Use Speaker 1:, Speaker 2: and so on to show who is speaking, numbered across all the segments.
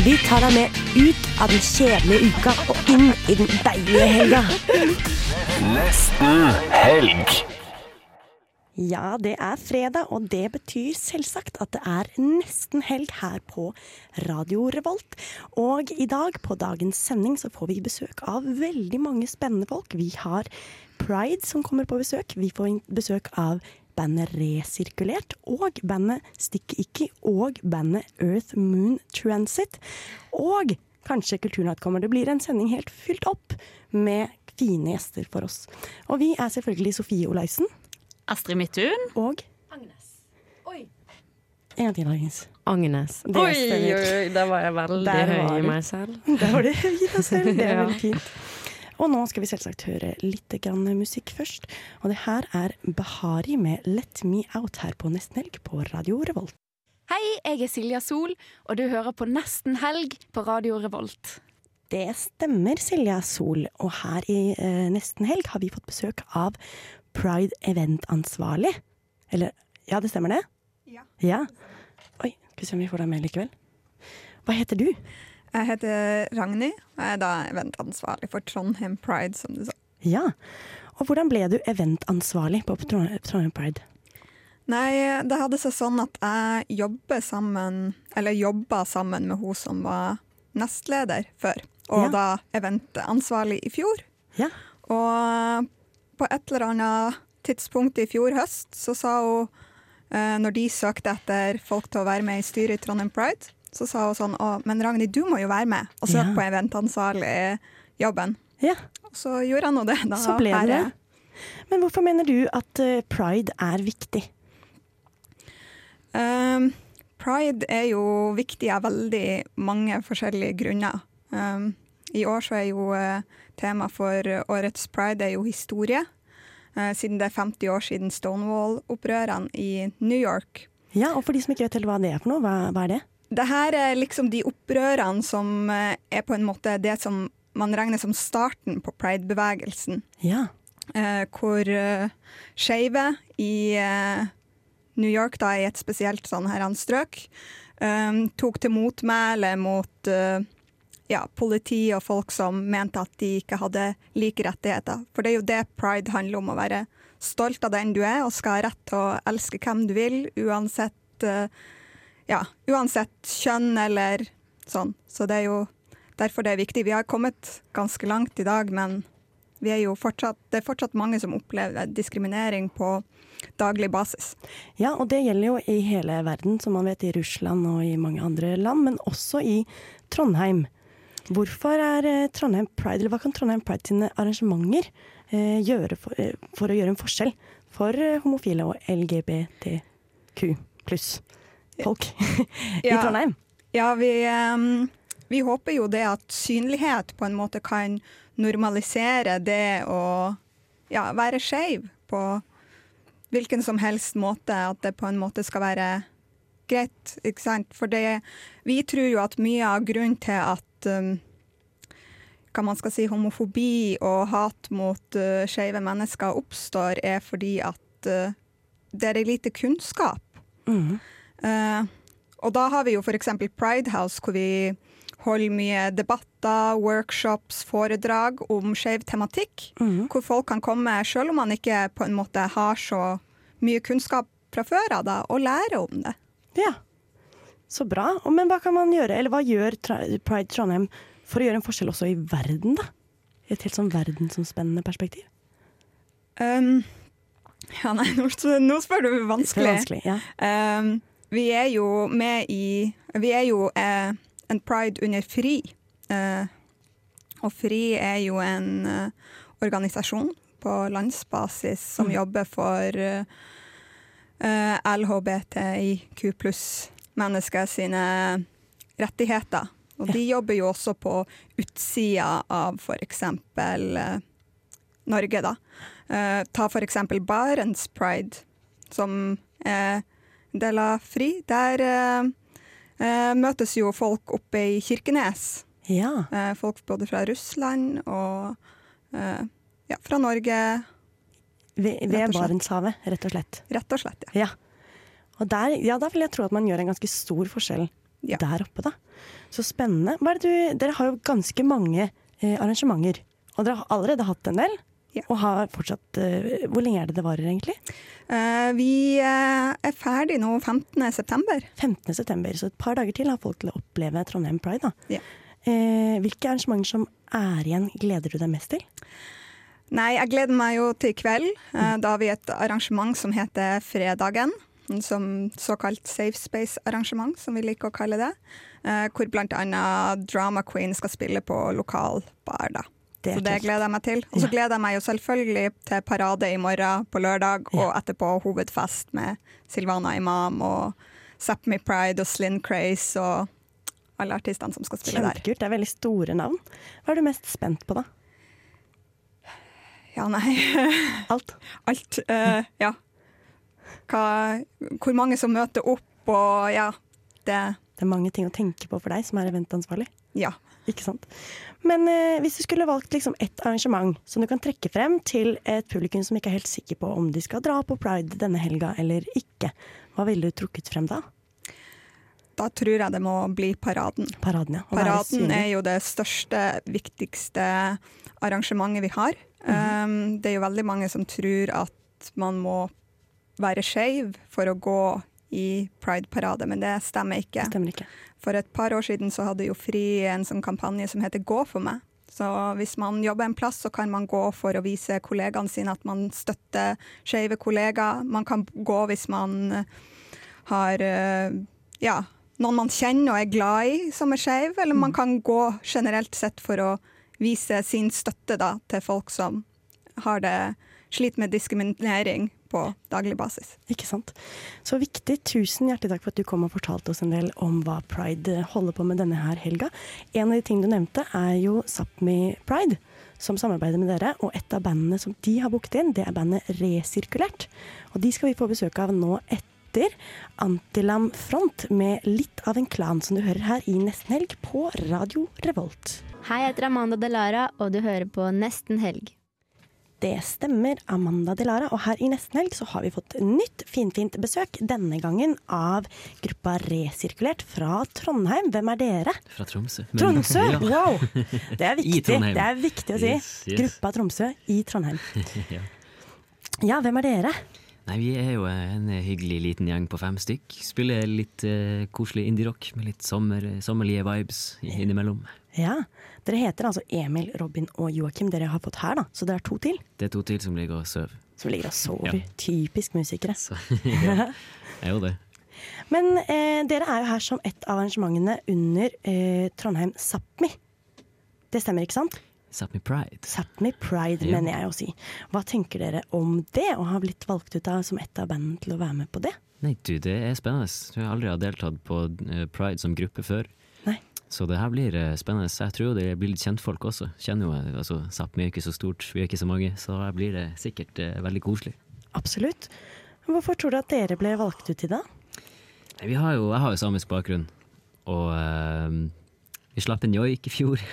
Speaker 1: Vi tar deg med ut av den kjedelige uka og inn i den deilige helga. Ja, det er fredag, og det betyr selvsagt at det er nesten helg her på Radio Revolt. Og i dag, på dagens sending, så får vi besøk av veldig mange spennende folk. Vi har Pride som kommer på besøk. Vi får inn- besøk av bandet Resirkulert og bandet Stikk Ikki og bandet Earth Moon Transit. Og kanskje Kulturnatt kommer. Det blir en sending helt fylt opp med fine gjester for oss. Og vi er selvfølgelig Sofie Olaisen.
Speaker 2: Astrid Midthun.
Speaker 1: Og Agnes. Oi. En gang til, Agnes.
Speaker 3: Agnes.
Speaker 1: Det
Speaker 3: Oi, oi,
Speaker 1: stemmer.
Speaker 3: oi, der var jeg veldig
Speaker 1: Der var
Speaker 3: høy i
Speaker 1: du.
Speaker 3: meg selv.
Speaker 1: Der var det høy i deg selv. Det er
Speaker 3: Ja.
Speaker 1: veldig fint. Og nå skal vi selvsagt høre litt grann musikk først. Og det her er Bahari med 'Let Me Out' her på Nesten Helg på Radio Revolt.
Speaker 4: Hei, jeg er Silja Sol, og du hører på Nesten helg på Radio Revolt.
Speaker 1: Det stemmer, Silja Sol. Og her i eh, Nesten Helg har vi fått besøk av Pride Event-ansvarlig. Eller Ja, det stemmer det? Ja. Oi, skal vi se om vi får deg med likevel. Hva heter du?
Speaker 5: Jeg heter Ragnhild, og jeg er da eventansvarlig for Trondheim Pride, som du sa.
Speaker 1: Ja. Og hvordan ble du eventansvarlig på Trond- Trondheim Pride?
Speaker 5: Nei, det hadde seg sånn at jeg jobber sammen, eller jobba sammen med hun som var nestleder før, og
Speaker 1: Ja.
Speaker 5: da eventansvarlig i fjor.
Speaker 1: Ja.
Speaker 5: Og på et eller annet tidspunkt i fjor høst så sa hun, eh, når de søkte etter folk til å være med i styret i Trondheim Pride, så sa hun sånn, å, men Ragnhild, du må jo være med og søke
Speaker 1: Ja.
Speaker 5: på eventansvarlig-jobben.
Speaker 1: ja.
Speaker 5: Og så gjorde jeg nå det. Da
Speaker 1: Så ble det
Speaker 5: er
Speaker 1: det.
Speaker 5: jeg-
Speaker 1: Men hvorfor mener du at eh, pride er viktig?
Speaker 5: Um, Pride er jo viktig av veldig mange forskjellige grunner. Um, I år så er jo eh, tema for årets pride er jo historie, eh, siden det er 50 år siden Stonewall-opprørene i New York.
Speaker 1: Ja, og for de som ikke vet helt hva det er for noe, hva, hva er det?
Speaker 5: Det her er liksom de opprørene som eh, er på en måte det som man regner som starten på pride-bevegelsen.
Speaker 1: Ja.
Speaker 5: eh, hvor eh, skeive i eh, New York, da, i et spesielt sånn her strøk, eh, tok til motmæle mot eh, ja, politi og folk som mente at de ikke hadde like rettigheter. For det er jo det pride handler om, å være stolt av den du er, og skal ha rett til å elske hvem du vil, uansett, eh, ja, uansett kjønn eller sånn. Så det er jo derfor det er viktig. Vi har kommet ganske langt i dag, men vi er jo fortsatt, det er fortsatt mange som opplever diskriminering på daglig basis.
Speaker 1: ja, og det gjelder jo i hele verden, som man vet i Russland og i mange andre land, men også i Trondheim. Hvorfor er eh, Trondheim Pride, eller hva kan Trondheim Pride sine arrangementer eh, gjøre for, eh, for å gjøre en forskjell for eh, homofile og LGBTQ pluss-folk i
Speaker 5: Ja.
Speaker 1: Trondheim?
Speaker 5: Ja, vi, ehm, vi håper jo det at synlighet på en måte kan normalisere det å ja, være skeiv på hvilken som helst måte, at det på en måte skal være greit. ikke sant? For det, vi tror jo at mye av grunnen til at um, hva man skal si, homofobi og hat mot uh, skeive mennesker oppstår, er fordi at uh, det er lite kunnskap. Eh, og da har vi jo f.eks. Pridehouse, hvor vi holder mye debatter, workshops, foredrag om skeiv tematikk.
Speaker 1: Mhm.
Speaker 5: Hvor folk kan komme, selv om man ikke på en måte har så mye kunnskap fra før av, da, og lære om det.
Speaker 1: Ja, så bra. Og- Men hva kan man gjøre, eller hva gjør Tra- Pride Trondheim for å gjøre en forskjell også i verden, da? I et helt sånn verdensomspennende perspektiv.
Speaker 5: Um, ja, nei, nå, nå spør du
Speaker 1: Det er vanskelig, ja.
Speaker 5: Um, vi er jo med i Vi er jo eh, en pride under FRI. Eh, og FRI er jo en eh, organisasjon på landsbasis som jobber for eh, eh, LHBTIQ pluss-mennesker sine rettigheter. Og de jobber jo også på utsida av f.eks. Norge, da. Eh, ta f.eks. Barents Pride, som eh, er del av FRI. Der eh, eh, møtes jo folk oppe i Kirkenes.
Speaker 1: Ja.
Speaker 5: Eh, folk både fra Russland og eh, ja, fra Norge,
Speaker 1: Ved,
Speaker 5: Rett
Speaker 1: ved
Speaker 5: og slett.
Speaker 1: Barentshavet, rett og slett.
Speaker 5: rett og slett. Ja.
Speaker 1: Ja. Og der, ja, da vil jeg tro at man gjør en ganske stor forskjell
Speaker 5: Ja.
Speaker 1: der oppe, da. Så spennende. Hva er det du, dere har jo ganske mange eh, arrangementer, og dere har allerede hatt en del.
Speaker 5: Ja.
Speaker 1: Og har fortsatt eh, Hvor lenge er det det varer, egentlig?
Speaker 5: Eh, vi eh, er ferdig nå 15.9.
Speaker 1: 15. september, så et par dager til har folk til å oppleve Trondheim Pride. Da.
Speaker 5: Ja.
Speaker 1: Eh, hvilke arrangementer som er igjen, gleder du deg mest til?
Speaker 5: Nei, jeg gleder meg jo til i kveld. Eh,
Speaker 1: Mm.
Speaker 5: Da har vi et arrangement som heter Fredagen. Som såkalt safe space-arrangement, som vi liker å kalle det. Eh, Hvor bl.a. Drama Queen skal spille på lokal bar. da.
Speaker 1: Det er
Speaker 5: så det
Speaker 1: kult.
Speaker 5: gleder jeg meg til. Og så
Speaker 1: Ja.
Speaker 5: gleder jeg meg jo selvfølgelig til parade i morgen på lørdag, og etterpå hovedfest med Silvana Imam og Sápmi Pride og Slinn Craze og alle artistene som skal spille der.
Speaker 1: Kjempekult, det er veldig store navn. Hva er du mest spent på, da?
Speaker 5: Ja, nei.
Speaker 1: Alt?
Speaker 5: alt. eh, ja. Hva, hvor mange som møter opp, og ja. Det
Speaker 1: Det er mange ting å tenke på for deg som er eventansvarlig.
Speaker 5: Ja.
Speaker 1: Ikke sant? Men eh, hvis du skulle valgt liksom, ett arrangement som du kan trekke frem til et publikum som ikke er helt sikker på om de skal dra på pride denne helga eller ikke, hva ville du trukket frem da?
Speaker 5: Da tror jeg det må bli paraden.
Speaker 1: Paraden, ja. Å være
Speaker 5: Paraden
Speaker 1: synlig.
Speaker 5: er jo det største, viktigste arrangementet vi har.
Speaker 1: Mhm.
Speaker 5: Um, det er jo veldig mange som tror at man må være skeiv for å gå i Pride-parade, men det stemmer ikke.
Speaker 1: Stemmer ikke.
Speaker 5: For et par år siden så hadde jo FRI en sånn kampanje som heter Gå for meg. Så hvis man jobber en plass, så kan man gå for å vise kollegaene sine at man støtter skeive kollegaer. Man kan gå hvis man har eh, ja, noen man kjenner og er glad i som er skeiv, eller
Speaker 1: Mm.
Speaker 5: man kan gå generelt sett for å vise sin støtte da, til folk som har det sliter med diskriminering på daglig basis.
Speaker 1: Ikke sant. Så viktig. Tusen hjertelig takk for at du kom og fortalte oss en del om hva Pride holder på med denne her helga. En av de tingene du nevnte er jo Sápmi Pride, som samarbeider med dere. Og et av bandene som de har booket inn, det er bandet Resirkulert. Og de skal vi få besøk av nå etter Antilam Front med litt av en klan, som du hører her i Nesten Helg på Radio Revolt.
Speaker 2: Hei, jeg heter Amanda Delara, og du hører på Nesten helg.
Speaker 1: Det stemmer, Amanda Delara. Og her i nesten helg så har vi fått nytt finfint besøk. Denne gangen av gruppa Resirkulert fra Trondheim. Hvem er dere?
Speaker 6: Fra Tromsø. Men-
Speaker 1: Tromsø!
Speaker 6: Ja.
Speaker 1: Wow! Det er
Speaker 6: I
Speaker 1: viktig,
Speaker 6: Trondheim.
Speaker 1: det er viktig å si.
Speaker 6: Yes, yes.
Speaker 1: Gruppa Tromsø i Trondheim.
Speaker 6: ja.
Speaker 1: Ja, hvem er dere?
Speaker 6: Nei, vi er jo en hyggelig liten gjeng på fem stykk. Spiller litt eh, koselig indie-rock med litt sommer, sommerlige vibes innimellom.
Speaker 1: Ja, Dere heter altså Emil, Robin og Joakim, dere har fått her, da. Så dere er to til
Speaker 6: Det er to til som ligger og sover.
Speaker 1: som ligger og sover.
Speaker 6: Ja.
Speaker 1: Typisk musikere.
Speaker 6: ja. Er jo det.
Speaker 1: Men eh, dere er jo her som et av arrangementene under eh, Trondheim Sápmi. Det stemmer, ikke sant?
Speaker 6: Sápmi Pride.
Speaker 1: Sápmi Pride,
Speaker 6: Ja.
Speaker 1: mener jeg å si. Hva tenker dere om det, og har blitt valgt ut av som et av bandene til å være med på det?
Speaker 6: Nei, du, det er spennende. Jeg har aldri deltatt på eh, Pride som gruppe før.
Speaker 1: Nei.
Speaker 6: Så det her blir eh, spennende. Jeg tror jo det blir litt kjentfolk også. Kjenner jo, eh, altså, Sápmi er ikke så stort, vi er ikke så mange, så her blir det sikkert eh, veldig koselig.
Speaker 1: Absolutt. Hvorfor tror du at dere ble valgt ut til det?
Speaker 6: Nei, Vi har jo, jeg har jo samisk bakgrunn, og eh, vi slapp en joik i fjor.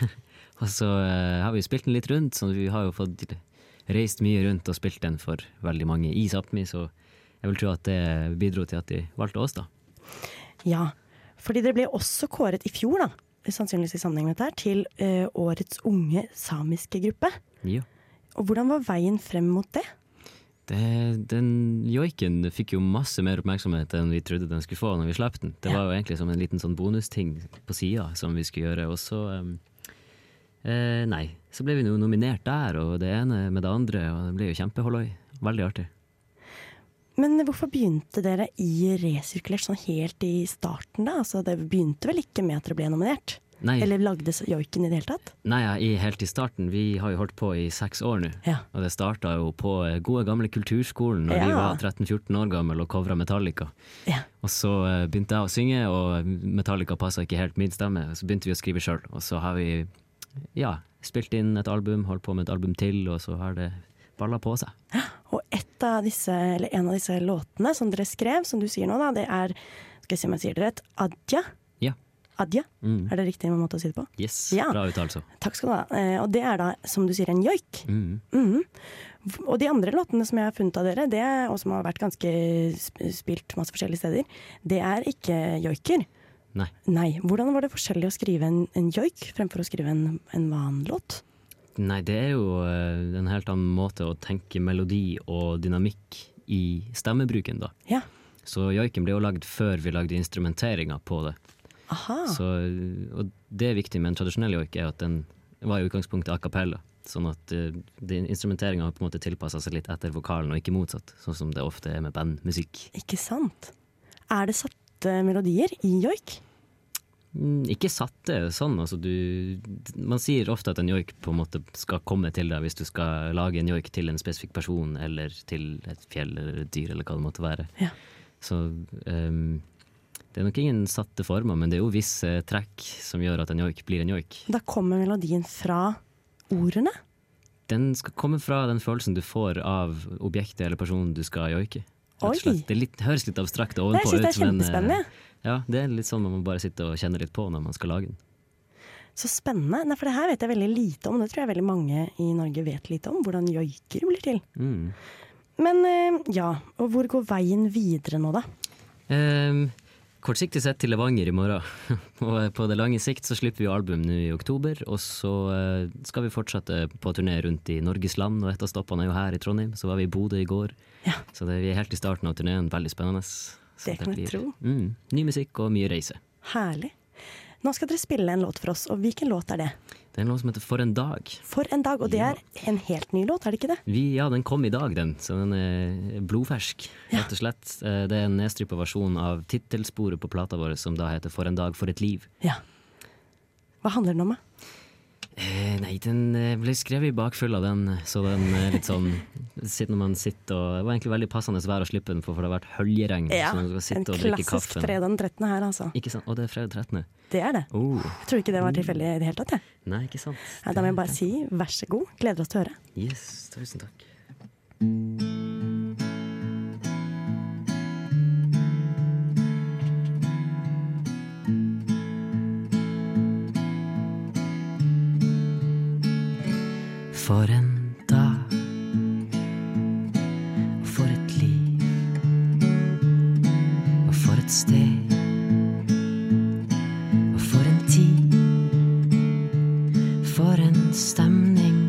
Speaker 6: og så eh, har vi spilt den litt rundt, så vi har jo fått reist mye rundt og spilt den for veldig mange i Sápmi, så jeg vil tro at det bidro til at de valgte oss, da.
Speaker 1: Ja, fordi dere ble også kåret i fjor, da, sannsynligvis i sammenheng med dette, her, til eh, årets unge samiske gruppe.
Speaker 6: Ja.
Speaker 1: Og hvordan var veien frem mot det?
Speaker 6: Det, den joiken fikk jo masse mer oppmerksomhet enn vi trodde den skulle få når vi slapp den. Det var jo egentlig som en liten sånn bonusting på sida som vi skulle gjøre, og så eh, eh, Nei. Så ble vi jo nominert der, og det ene med det andre, og det ble jo kjempeholloi. Veldig artig.
Speaker 1: Men hvorfor begynte dere i Resirkulert sånn helt i starten, da? Altså, det begynte vel ikke med at dere ble nominert?
Speaker 6: Nei.
Speaker 1: Eller lagde joiken i det hele tatt?
Speaker 6: Nei, ja, i, helt i starten. Vi har jo holdt på i seks år nå.
Speaker 1: Ja.
Speaker 6: Og det starta jo på eh, gode gamle Kulturskolen når vi
Speaker 1: Ja.
Speaker 6: var 13-14 år gamle og covra Metallica. Og så eh, begynte jeg å synge, og Metallica passa ikke helt min stemme. Så begynte vi å skrive sjøl, og så har vi ja, spilt inn et album, holdt på med et album til, og så har det balla på seg.
Speaker 1: Og et av disse, eller en av disse låtene som dere skrev, som du sier nå, da, det er skal jeg se om jeg sier det rett, Adja.
Speaker 6: Ja.
Speaker 1: Adja,
Speaker 6: Mm.
Speaker 1: er det riktig måte å si det på?
Speaker 6: Yes,
Speaker 1: Ja.
Speaker 6: bra altså. uttalelse.
Speaker 1: Takk skal du ha. Eh, Og det er da, som du sier, en joik.
Speaker 6: Mm.
Speaker 1: Mhm. Og de andre låtene som jeg har funnet av dere, det, og som har vært ganske sp- spilt masse forskjellige steder, det er ikke joiker.
Speaker 6: Nei.
Speaker 1: Nei. Hvordan var det forskjellig å skrive en, en joik fremfor å skrive en, en vanlig låt?
Speaker 6: Nei, det er jo eh, en helt annen måte å tenke melodi og dynamikk i stemmebruken, da.
Speaker 1: Ja.
Speaker 6: Så joiken ble jo lagd før vi lagde instrumenteringa på det.
Speaker 1: Aha.
Speaker 6: Så, og det er viktig med en tradisjonell joik, er at den var i utgangspunktet a cappella. Sånn at instrumenteringa har på en måte tilpassa seg litt etter vokalen, og ikke motsatt. Sånn som det ofte er med bandmusikk.
Speaker 1: Ikke sant? Er det satte melodier i joik?
Speaker 6: Mm, Ikke satte sånn, altså du Man sier ofte at en joik på en måte skal komme til deg hvis du skal lage en joik til en spesifikk person, eller til et fjell eller et dyr, eller hva det måtte være. Så ehm, det er nok ingen satte former, men det er jo visse trekk som gjør at en joik blir en joik.
Speaker 1: Da kommer melodien fra ordene.
Speaker 6: Den skal komme fra den følelsen du får av objektet eller personen du skal joike. rett og
Speaker 1: Oi.
Speaker 6: slett. Det er litt, høres litt abstrakt
Speaker 1: Nei, jeg
Speaker 6: ovenpå
Speaker 1: synes det er
Speaker 6: men, eh,
Speaker 1: kjempespennende.
Speaker 6: Ja, det er litt sånn man må bare sitte og kjenne litt på når man skal lage den.
Speaker 1: Så spennende. Nei, for det her vet jeg veldig lite om. Det tror jeg veldig mange i Norge vet lite om. Hvordan joiker blir til.
Speaker 6: Mm.
Speaker 1: Men eh, ja, og hvor går veien videre nå, da?
Speaker 6: Ehm, kortsiktig sett til Levanger i morgen. og på det lange sikt så slipper vi jo album nå i oktober. Og så eh, skal vi fortsette på turné rundt i Norges land, og et av stoppene er jo her i Trondheim. Så var vi i Bodø i går. Så det, vi er helt i starten av turneen. Veldig spennende. Så
Speaker 1: Det kan jeg tro.
Speaker 6: Mm, ny musikk og mye reise.
Speaker 1: Herlig. Nå skal dere spille en låt for oss, og hvilken låt er det?
Speaker 6: Det er noe som heter For en dag.
Speaker 1: For en dag, og det er en helt ny låt, er det ikke det?
Speaker 6: Vi, ja, den kom i dag, den. Så den er blodfersk, rett og slett. Eh, Det er en nedstrippa versjon av tittelsporet på plata vår som da heter For en dag, for et liv.
Speaker 1: Hva handler den om? da?
Speaker 6: Eh, Nei, den eh, ble skrevet i bakfylla, den. eh, Så den er litt sånn sitt Når man sitter og Det var egentlig veldig passende vær å slippe den for, for det har vært høljeregn.
Speaker 1: Ja,
Speaker 6: Mm, så man skal
Speaker 1: en
Speaker 6: sitte og drikke
Speaker 1: klassisk
Speaker 6: kaffe.
Speaker 1: fredag den 13. her, altså.
Speaker 6: Ikke sant? Og det er fredag 13.
Speaker 1: Det er det.
Speaker 6: Oh.
Speaker 1: Jeg tror ikke det var tilfeldig i det hele tatt. jeg.
Speaker 6: Nei, ikke sant.
Speaker 1: Nei, Da må jeg bare si vær så god, gleder oss til å høre.
Speaker 6: Yes, tusen takk. For en dag og for et liv og for et sted og for en tid. For en stemning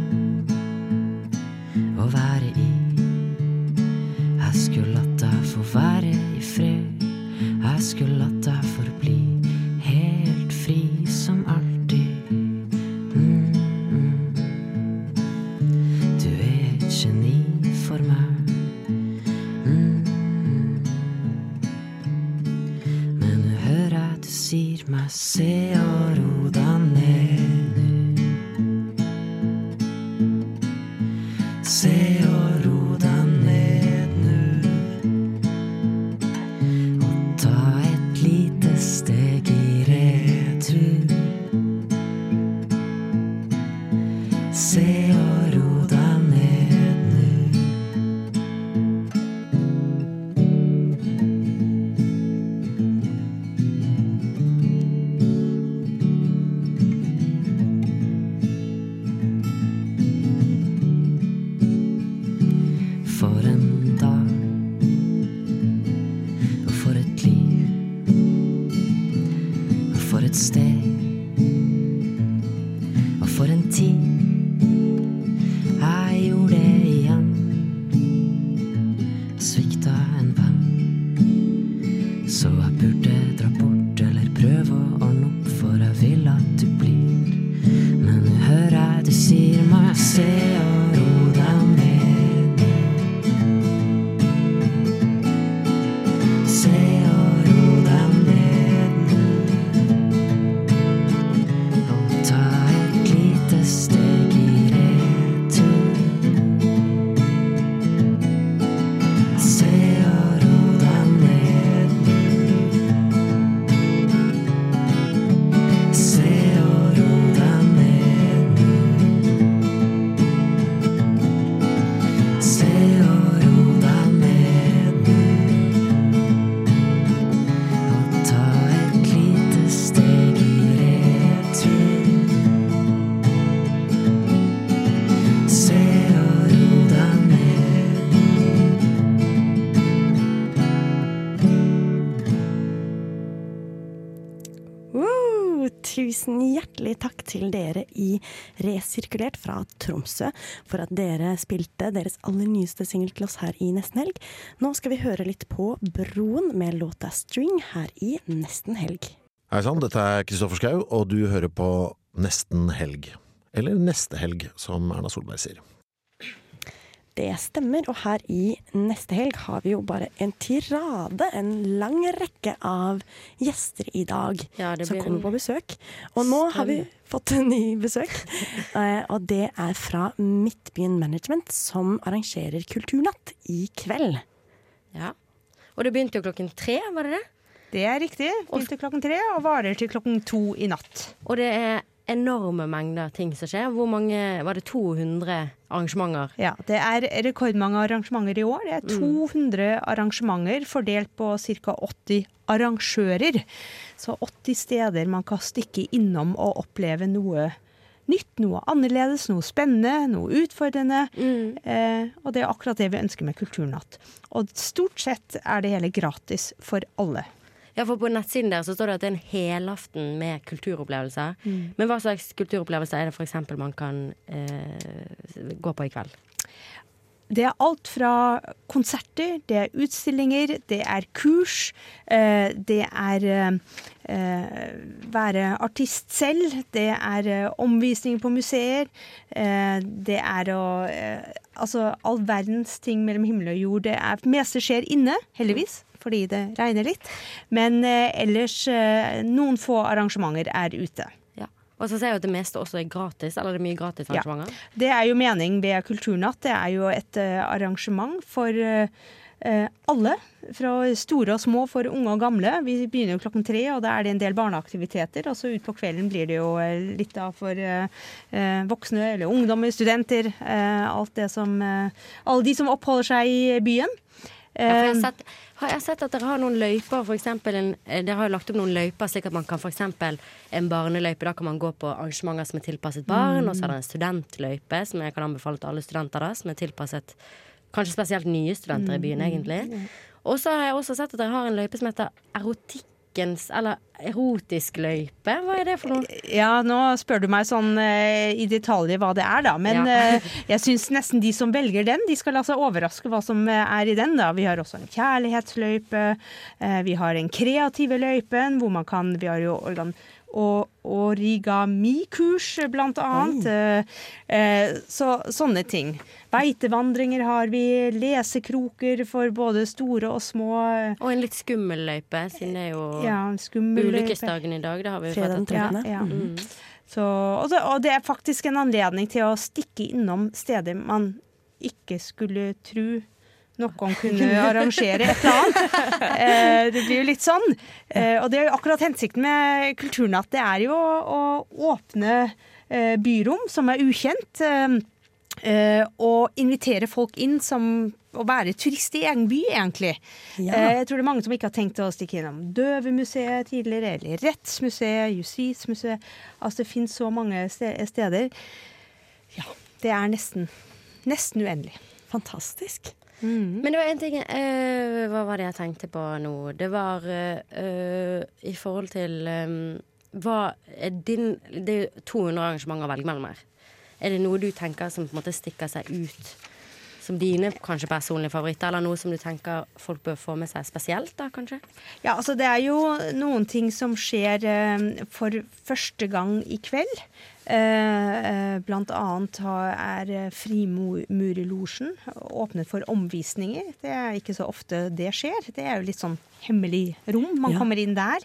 Speaker 6: å være i. Jeg skulle latt deg få være i fred. Jeg skulle latt deg forbli helt fri som alltid. Mm, mm. Du er et geni for meg. Mm, mm. Men nå hører jeg du sier meg se og ro deg ned nå. Se og ro deg ned nå. Og ta et lite steg i retur. Se og ro deg ned nå. For en dag Og for et liv Og for et sted Og for en tid Jeg gjorde det igjen Og svikta en venn Så jeg burde dra bort Eller prøve å ordne opp For jeg vil at du blir Men nå hører jeg du sier meg Se og ro deg ned Se og ro deg ned nå.
Speaker 1: tusen hjertelig takk til dere i Resirkulert fra Tromsø for at dere spilte deres aller nyeste singel til oss her i Nesten Helg. Nå skal vi høre litt på Broen med låta String her i Nesten Helg.
Speaker 7: Hei sann, dette er Kristoffer Schau, og du hører på Nesten helg. Eller Neste helg, som Erna Solberg sier.
Speaker 1: Det stemmer, og her i neste helg har vi jo bare en tirade, en lang rekke av gjester i dag
Speaker 3: Ja, det
Speaker 1: som
Speaker 3: blir
Speaker 1: kommer
Speaker 3: en
Speaker 1: på besøk. Og nå har vi
Speaker 3: strøm.
Speaker 1: fått en ny besøk, eh, og det er fra Midtbyen Management, som arrangerer Kulturnatt i kveld.
Speaker 8: Ja. Og det begynte jo klokken tre, var det det?
Speaker 9: Det er riktig. Begynte klokken tre og varer til klokken to i natt.
Speaker 8: Og det er enorme mengder ting som skjer. Hvor mange Var det 200 arrangementer?
Speaker 9: Ja, det er rekordmange arrangementer i år. Det er 200 arrangementer fordelt på ca. 80 arrangører. Så 80 steder man kan stikke innom og oppleve noe nytt, noe annerledes, noe spennende, noe utfordrende. Eh, og det er akkurat det vi ønsker med Kulturnatt. Og stort sett er det hele gratis for alle.
Speaker 8: Ja, for på nettsiden der så står det at det er en helaften med kulturopplevelser.
Speaker 9: Mm.
Speaker 8: Men hva slags kulturopplevelser er det f.eks. man kan eh, gå på i kveld?
Speaker 9: Det er alt fra konserter, det er utstillinger, det er kurs, eh, det er eh, eh, være artist selv, det er eh, omvisninger på museer, eh, det er å eh, Altså all verdens ting mellom himmel og jord. Det er meste skjer inne, heldigvis. Fordi det regner litt. Men eh, ellers eh, noen få arrangementer er ute.
Speaker 8: Ja. Og så ser jeg jo at det meste også er gratis. Eller det er mye gratis arrangementer.
Speaker 9: Det er jo mening ved Kulturnatt. Det er jo et eh, arrangement for eh, eh, alle, fra store og små, for unge og gamle. Vi begynner jo klokken tre, og da er det en del barneaktiviteter. Og så utpå kvelden blir det jo eh, litt da for eh, eh, voksne, eller ungdommer, studenter. eh, alt det som eh, Alle de som oppholder seg i byen.
Speaker 8: Ja, for jeg har,
Speaker 9: Eh,
Speaker 8: sett, har jeg sett at dere har noen løyper, for eksempel en, eh, Dere har jo lagt opp noen løyper, slik at man kan f.eks. en barneløype. Da kan man gå på arrangementer som er tilpasset barn.
Speaker 10: Mm.
Speaker 8: Og så er det en studentløype, som jeg kan anbefale til alle studenter, da, som er tilpasset kanskje spesielt nye studenter i byen,
Speaker 10: Mm.
Speaker 8: egentlig. Og så har jeg også sett at dere har en løype som heter erotikkens Eller erotisk løype. Hva er det for noe?
Speaker 9: Ja, nå spør du meg sånn eh, i detalj hva det er, da. Men
Speaker 8: Ja.
Speaker 9: eh, jeg syns nesten de som velger den, de skal la seg overraske hva som eh, er i den, da. Vi har også en kjærlighetsløype. eh, vi har den kreative løypen, hvor man kan Vi har jo organ og origami-kurs, blant annet. Eh, eh, så, sånne ting. Beitevandringer har vi. Lesekroker for både store og små. eh,
Speaker 8: Og en litt skummel løype, siden det er jo
Speaker 9: Ja, en skummel løype.
Speaker 8: ulykkesdagen i dag. Det har vi jo
Speaker 9: Fredag den
Speaker 8: fått etter.
Speaker 9: 13.. Ja, ja.
Speaker 8: Mm.
Speaker 9: Så, og, det, og det er faktisk en anledning til å stikke innom steder man ikke skulle tro noen kunne arrangere et eller annet. Eh, Det blir jo litt sånn. Eh, Og det er jo akkurat hensikten med Kulturnatt. Det er jo å å åpne eh, byrom som er ukjent, eh, eh, og invitere folk inn som å være turist i egen by, egentlig.
Speaker 1: Ja.
Speaker 9: Eh, jeg tror det er mange som ikke har tenkt å stikke innom Døvemuseet tidligere, eller Rettsmuseet, Justismuseet. Altså det finnes så mange ste- steder. Ja, det er nesten, nesten uendelig.
Speaker 1: Fantastisk.
Speaker 8: Men det var en ting eh, Hva var det jeg tenkte på nå? Det var eh, eh, i forhold til eh, Hva er din Det er jo 200 arrangementer å velge mellom her. Er det noe du tenker som på en måte stikker seg ut som dine kanskje personlige favoritter, eller noe som du tenker folk bør få med seg spesielt, da kanskje?
Speaker 9: Ja, altså det er jo noen ting som skjer eh, for første gang i kveld. Eh, eh, Blant annet har- er Frimurelosjen åpnet for omvisninger. Det er ikke så ofte det skjer. Det er jo litt sånn hemmelig rom. Man
Speaker 11: Ja.
Speaker 9: kommer inn der.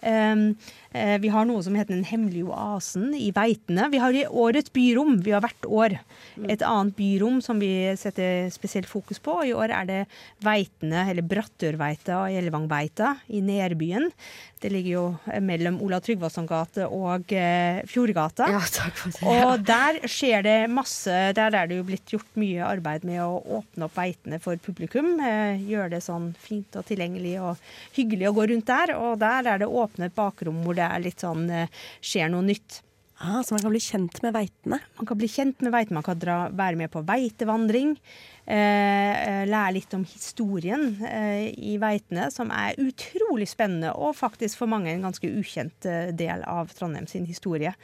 Speaker 9: Um, eh, vi har noe som heter Den hemmelige oasen i Veitene. Vi har i år et byrom. Vi har hvert år et annet byrom som vi setter spesielt fokus på. Og I år er det Veitene, eller Brattørveita og Gjellevangveita i Nærbyen. Det ligger jo eh, mellom Olav Tryggvason gate og eh, Fjordgata.
Speaker 8: Ja, takk for det.
Speaker 9: Og der skjer det masse Der er det jo blitt gjort mye arbeid med å åpne opp veitene for publikum. Eh, gjøre det sånn fint og tilgjengelig og hyggelig å gå rundt der. Og der er det åpnet bakrom hvor det er litt sånn eh, skjer noe nytt.
Speaker 1: Ah, så man kan bli kjent med veitene?
Speaker 9: Man kan bli kjent med veitene, man kan dra, være med på veitevandring. Eh, lære litt om historien eh, i veitene, som er utrolig spennende. Og faktisk for mange en ganske ukjent eh, del av Trondheim sin historie.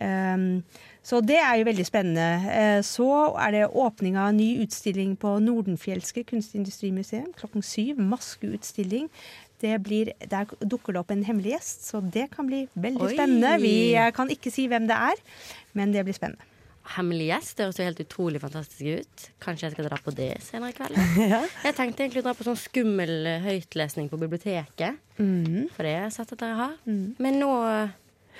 Speaker 9: Um, så det er jo veldig spennende. Uh, så er det åpning av en ny utstilling på Nordenfjelske kunstindustrimuseum klokken syv. Maskeutstilling. Det blir, der dukker det opp en hemmelig gjest, så det kan bli veldig
Speaker 8: Oi.
Speaker 9: spennende. Vi uh, kan ikke si hvem det er, men det blir spennende.
Speaker 8: Hemmelig gjest det høres jo helt utrolig fantastisk ut. Kanskje jeg skal dra på det senere i kveld. Jeg tenkte egentlig å dra på sånn skummel eh, høytlesning på biblioteket.
Speaker 12: Mm.
Speaker 8: For det har jeg sett at dere har. Men nå eh,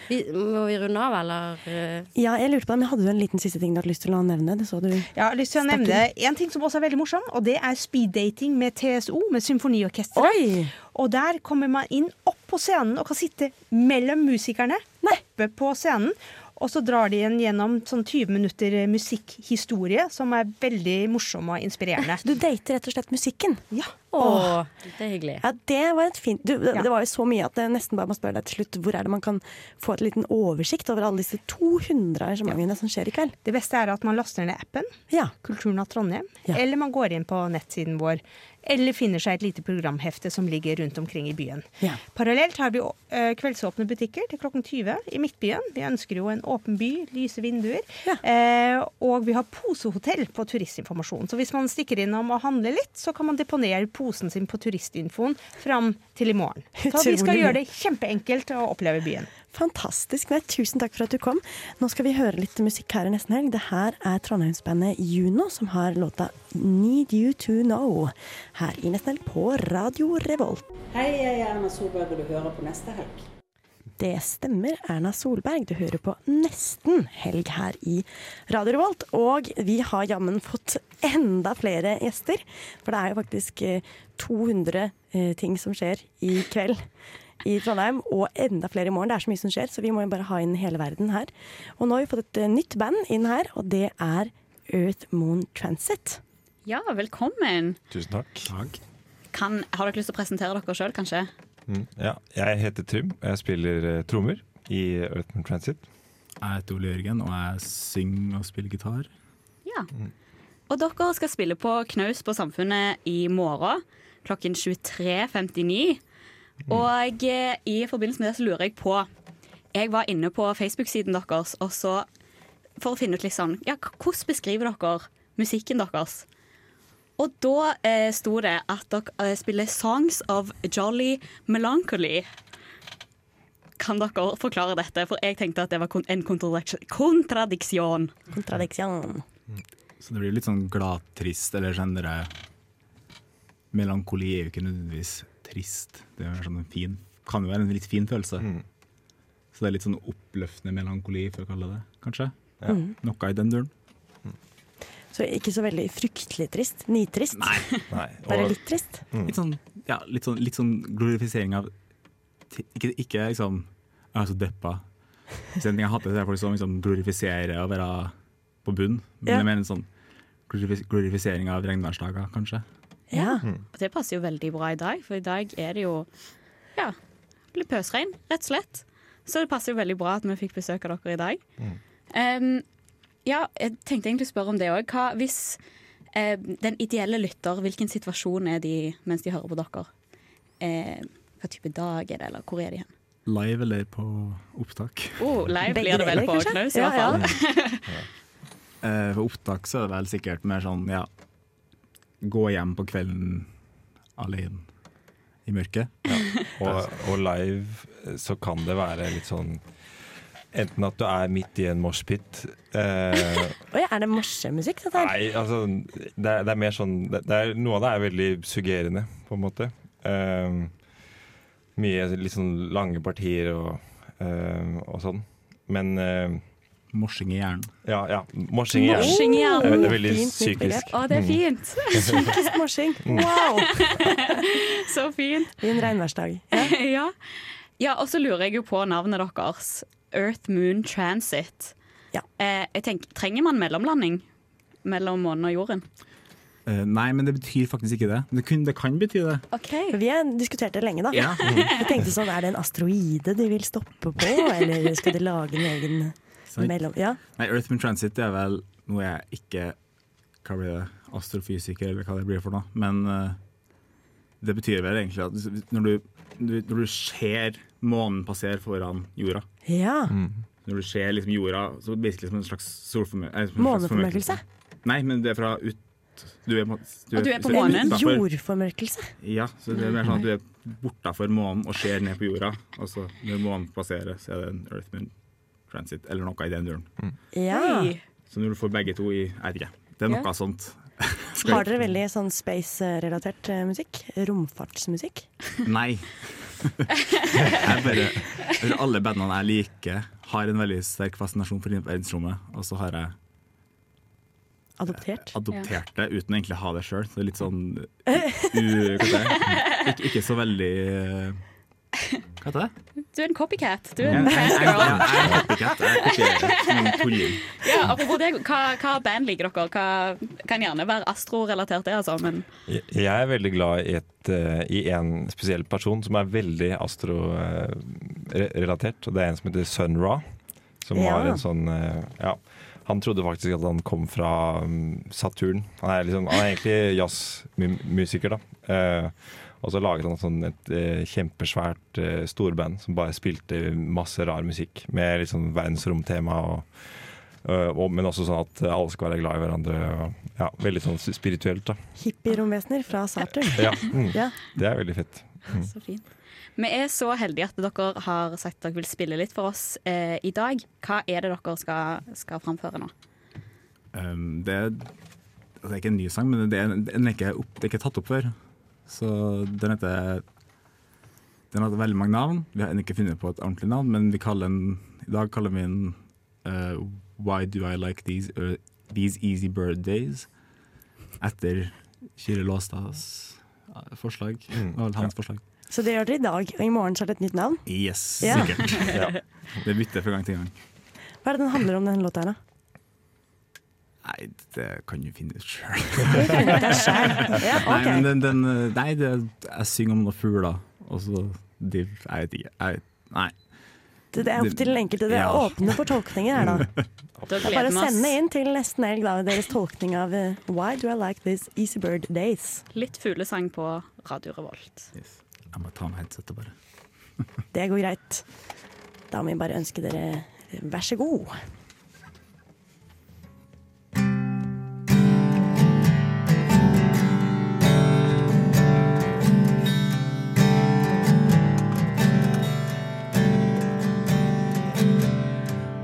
Speaker 8: vi, må vi runde av, eller? eh?
Speaker 1: Ja, jeg lurte på det, men Hadde du en liten siste ting du hadde lyst til å nevne? Det så du
Speaker 9: Jeg har lyst til å
Speaker 1: Stakk
Speaker 9: nevne en ting som også er veldig morsom, og det er speeddating med TSO, med symfoniorkesteret. Og der kommer man inn opp på scenen og kan sitte mellom musikerne. Oppe på scenen. Og så drar de en gjennom sånn 20 minutter musikkhistorie, som er veldig morsom og inspirerende.
Speaker 1: Du dater rett og slett musikken?
Speaker 9: Ja.
Speaker 1: Åh.
Speaker 8: det er hyggelig.
Speaker 1: Ja, det var et fint du, det,
Speaker 9: Ja.
Speaker 1: det var jo så mye at jeg nesten bare må spørre deg til slutt. Hvor er det man kan få et liten oversikt over alle disse 200 arrangementene som skjer i kveld?
Speaker 9: Det beste er at man laster ned appen, Kulturnatt Trondheim, eller man går inn på nettsiden vår, eller finner seg et lite programhefte som ligger rundt omkring i byen. Parallelt har vi eh, kveldsåpne butikker til klokken 20 i Midtbyen. Vi ønsker jo en åpen by, lyse vinduer. Eh, og vi har posehotell på turistinformasjon. Så hvis man stikker innom og handler litt, så kan man deponere posen sin på turistinfoen fram til i morgen. Så vi skal
Speaker 1: Utrolig.
Speaker 9: gjøre det kjempeenkelt å oppleve byen.
Speaker 1: Fantastisk. Nei, tusen takk for at du kom. Nå skal vi høre litt musikk her i nesten helg. Det her er trondheimsbandet Juno som har låta 'Need You To Know' her i nesten helg på Radio Revolt.
Speaker 13: Hei, jeg er Erna Solberg, og du hører på Neste helg.
Speaker 1: Det stemmer, Erna Solberg. Du hører på Nesten helg her i Radio Revolt. Og vi har jammen fått enda flere gjester. For det er jo faktisk eh, 200 eh, ting som skjer i kveld i Trondheim, og enda flere i morgen. Det er så mye som skjer, så vi må jo bare ha inn hele verden her. Og nå har vi fått et eh, nytt band inn her, og det er Earth Moon Transit.
Speaker 4: Ja, velkommen.
Speaker 11: Tusen takk.
Speaker 4: Kan, har dere lyst til å presentere dere sjøl, kanskje?
Speaker 11: Mm, ja. Jeg heter Trym, og jeg spiller eh, trommer i Earthman Transit.
Speaker 14: Jeg heter Ole Jørgen, og jeg synger og spiller gitar.
Speaker 4: Ja. Og dere skal spille på Knaus på Samfunnet i morgen klokken 23.59. Og eh, i forbindelse med det så lurer jeg på Jeg var inne på Facebook-siden deres, og så for å finne ut litt sånn Ja, k- hvordan beskriver dere musikken deres? Og da eh, sto det at dere eh, spiller 'Songs of Jolly Melancholy'. Kan dere forklare dette? For jeg tenkte at det var kon- en kontradiksjon. kontradiksjon.
Speaker 1: Kontradiksjon.
Speaker 14: Så det blir litt sånn glad-trist, eller sånn derre Melankoli er jo ikke nødvendigvis trist. Det er sånn en fin, kan jo være en litt fin følelse.
Speaker 15: Mm.
Speaker 14: Så det er litt sånn oppløftende melankoli, for å kalle det det, kanskje.
Speaker 1: Ja. Mhm.
Speaker 14: Noe i den duren.
Speaker 1: Så ikke så veldig fryktelig trist. Nitrist. Bare litt trist.
Speaker 14: Litt, sånn, ja, litt, sånn, litt sånn glorifisering av ti- Ikke, ikke liksom Jeg er så deppa. Hvis det er en ting jeg hater, så er det folk som liksom glorifiserer å være på bunn. Men
Speaker 4: Ja.
Speaker 14: jeg mener sånn glorifis- glorifisering av regnværsdager, kanskje.
Speaker 1: Ja.
Speaker 4: Og det passer jo veldig bra i dag, for i dag er det jo ja, litt pøsregn, rett og slett. Så det passer jo veldig bra at vi fikk besøk av dere i dag. Em, ja, jeg tenkte egentlig å spørre om det òg. Hvis eh, den ideelle lytter, hvilken situasjon er de i mens de hører på dere? Eh, hva type dag er det, eller hvor er de hen?
Speaker 14: Live eller på opptak?
Speaker 4: Oh, live
Speaker 16: Begge
Speaker 4: blir det
Speaker 16: deler,
Speaker 4: vel på
Speaker 16: kanskje?
Speaker 4: Knaus, i
Speaker 16: Ja,
Speaker 4: hvert fall.
Speaker 14: Eh, for opptak så er det vel sikkert mer sånn, ja Gå hjem på kvelden alene i mørket.
Speaker 11: Og, og live eh, så kan det være litt sånn Enten at du er midt i en moshpit eh,
Speaker 1: Oi, er det morsemusikk, dette her?
Speaker 11: Nei, altså det er, det er mer sånn det det er, Noe av det er veldig suggerende, på en måte. Eh, mye litt sånn lange partier og, eh, og sånn. Men ehm,
Speaker 14: Morsing i hjernen.
Speaker 11: Ja. ja morsing i hjernen. Eh,
Speaker 4: Morsing i hjernen.
Speaker 11: Det er- Det er veldig
Speaker 4: Fint nytt begrep.
Speaker 11: psykisk.
Speaker 4: Å, det er
Speaker 11: Mm.
Speaker 4: fint.
Speaker 1: Psykisk morsing.
Speaker 11: Mm.
Speaker 1: Wow!
Speaker 4: Så fint.
Speaker 1: I en regnværsdag.
Speaker 4: ja. ja, og så lurer jeg jo på navnet deres. Earth Moon Transit. Eh, jeg tenker, trenger man mellomlanding mellom månen og jorden?
Speaker 14: Eh, nei, men det betyr faktisk ikke det. Det, kun, det kan bety det.
Speaker 1: For Vi har diskutert det lenge, da.
Speaker 14: Ja.
Speaker 1: Vi tenkte sånn, er det en asteroide de vil stoppe på, eller skal de lage en egen
Speaker 14: Sant.
Speaker 1: mellom... Ja.
Speaker 14: Nei, Earth in Transit det er vel noe jeg ikke Hva blir det? Astrofysiker, eller hva det blir for noe. Men eh, det betyr vel egentlig at når du, du, når du ser månen passere foran jorda
Speaker 1: Ja.
Speaker 11: Mm.
Speaker 14: Når du ser liksom jorda så basically som en slags solformørkelse eh, som en slags
Speaker 1: Måneformørkelse?
Speaker 14: formørkelse. Nei, men det er fra ut... Du er, på-
Speaker 1: Og
Speaker 14: du er utenfor-
Speaker 1: Jordformørkelse?
Speaker 14: Ja, så det er mer sånn at du er bortafor månen og ser ned på jorda. Og så når månen passerer, så er det en Earth Moon Transit, eller noe i den duren.
Speaker 1: Ja. Oi.
Speaker 14: Så når du får begge to i Jeg vet ikke. Det er noe
Speaker 1: Ja.
Speaker 14: sånt.
Speaker 1: Har dere veldig sånn space-relatert eh, musikk? Romfartsmusikk?
Speaker 14: Nei. Jeg bare, jeg tror alle bandene jeg liker, har en veldig sterk fascinasjon for verdensrommet. Og så har jeg eh,
Speaker 1: Adoptert?
Speaker 14: adoptert det uten egentlig å ha det sjøl. Litt sånn u... Hva heter det? Ikke, ikke så veldig eh, Hva heter det?
Speaker 10: Du er en copycat. Du er
Speaker 14: Jeg
Speaker 10: en fangirl.
Speaker 14: er copycat. Jeg kopierer som en tulling.
Speaker 10: Ja, apropos det, hva, hva band liker dere? Hva kan gjerne være astro-relatert det, altså, men
Speaker 11: Jeg jeg er veldig glad i, et, eh, i en spesiell person som er veldig astro-relatert. Og det er en som heter Sun Ra. Som
Speaker 17: Ja.
Speaker 11: har en sånn eh, Ja. Han trodde faktisk at han kom fra mm, Saturn. Han er, liksom, han er egentlig jazzmusiker, da. Eh, og så laget han sånn et eh, kjempesvært eh, storband som bare spilte masse rar musikk med litt sånn verdensromtema. og eh, og, men også sånn at alle skal være glad i hverandre. Og, ja, veldig sånn spirituelt, da.
Speaker 1: Hippie-romvesener fra Saturn?
Speaker 11: Ja. Mm.
Speaker 1: Ja.
Speaker 11: Det er veldig fett. Mm.
Speaker 10: så fint. Vi er så heldige at dere har sagt at dere vil spille litt for oss eh, i dag. Hva er det dere skal, skal framføre nå?
Speaker 14: Um, det, er, altså, det er ikke en ny sang, men det er, den er, ikke, opp, det er ikke tatt opp før. Så den heter Den har veldig mange navn. Vi har ennå ikke funnet på et ordentlig navn, men vi kaller den, i dag kaller vi den eh, Why Do I Like These, eh, these Easy Bird Days? Etter Kyrre Låstads eh, forslag. Det var vel hans forslag.
Speaker 1: Så det gjør dere i dag, og i morgen så er det et nytt navn?
Speaker 14: Yes,
Speaker 1: Ja.
Speaker 14: sikkert. Det bytter fra gang til gang.
Speaker 1: Hva er det den handler om, den låta her, da?
Speaker 14: Nei, det kan du finne ut sjøl.
Speaker 1: Det kan du ta selv. Ja, ok.
Speaker 14: Nei, men den, den Nei, det, jeg synger om noen fugler, og så de, Jeg vet ikke. Jeg, nei.
Speaker 1: Det det er opp til den enkelte. Det er
Speaker 14: Ja.
Speaker 1: åpne for tolkninger her, da. Det er bare å sende inn til nesten helg da, deres tolkning av eh, Why do I like this Easy Bird Days?
Speaker 10: Litt fuglesang på Radio Revolt.
Speaker 14: Jeg må ta med headsetet, bare.
Speaker 1: Det går greit. Da må vi bare ønske dere eh, vær så god.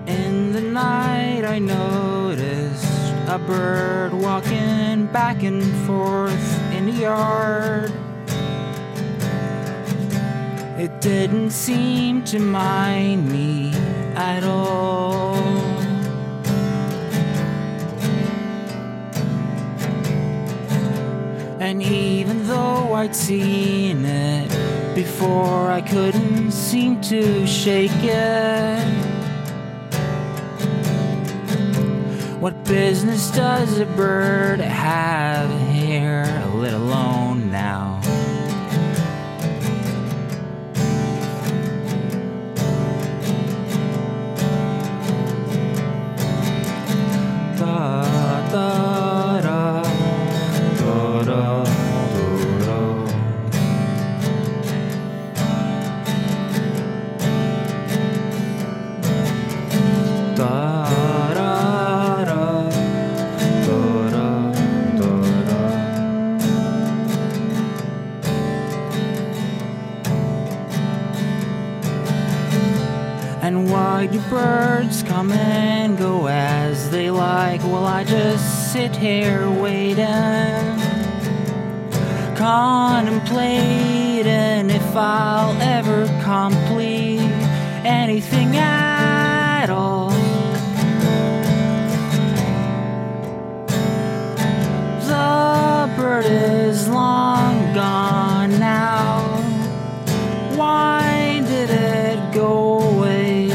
Speaker 18: In the night, I noticed a bird walking back and forth in the yard. It didn't seem to mind me at all. And even though I'd seen it before, I couldn't seem to shake it. What business does a bird have here, let alone now? Da, da, da, da, da, do, do. Da, da, da, da, da, da, da. And why do birds come and go as they like? Well, I just sit here waiting, contemplating if I'll ever complete anything at all. The bird is long gone now. Why did it go away?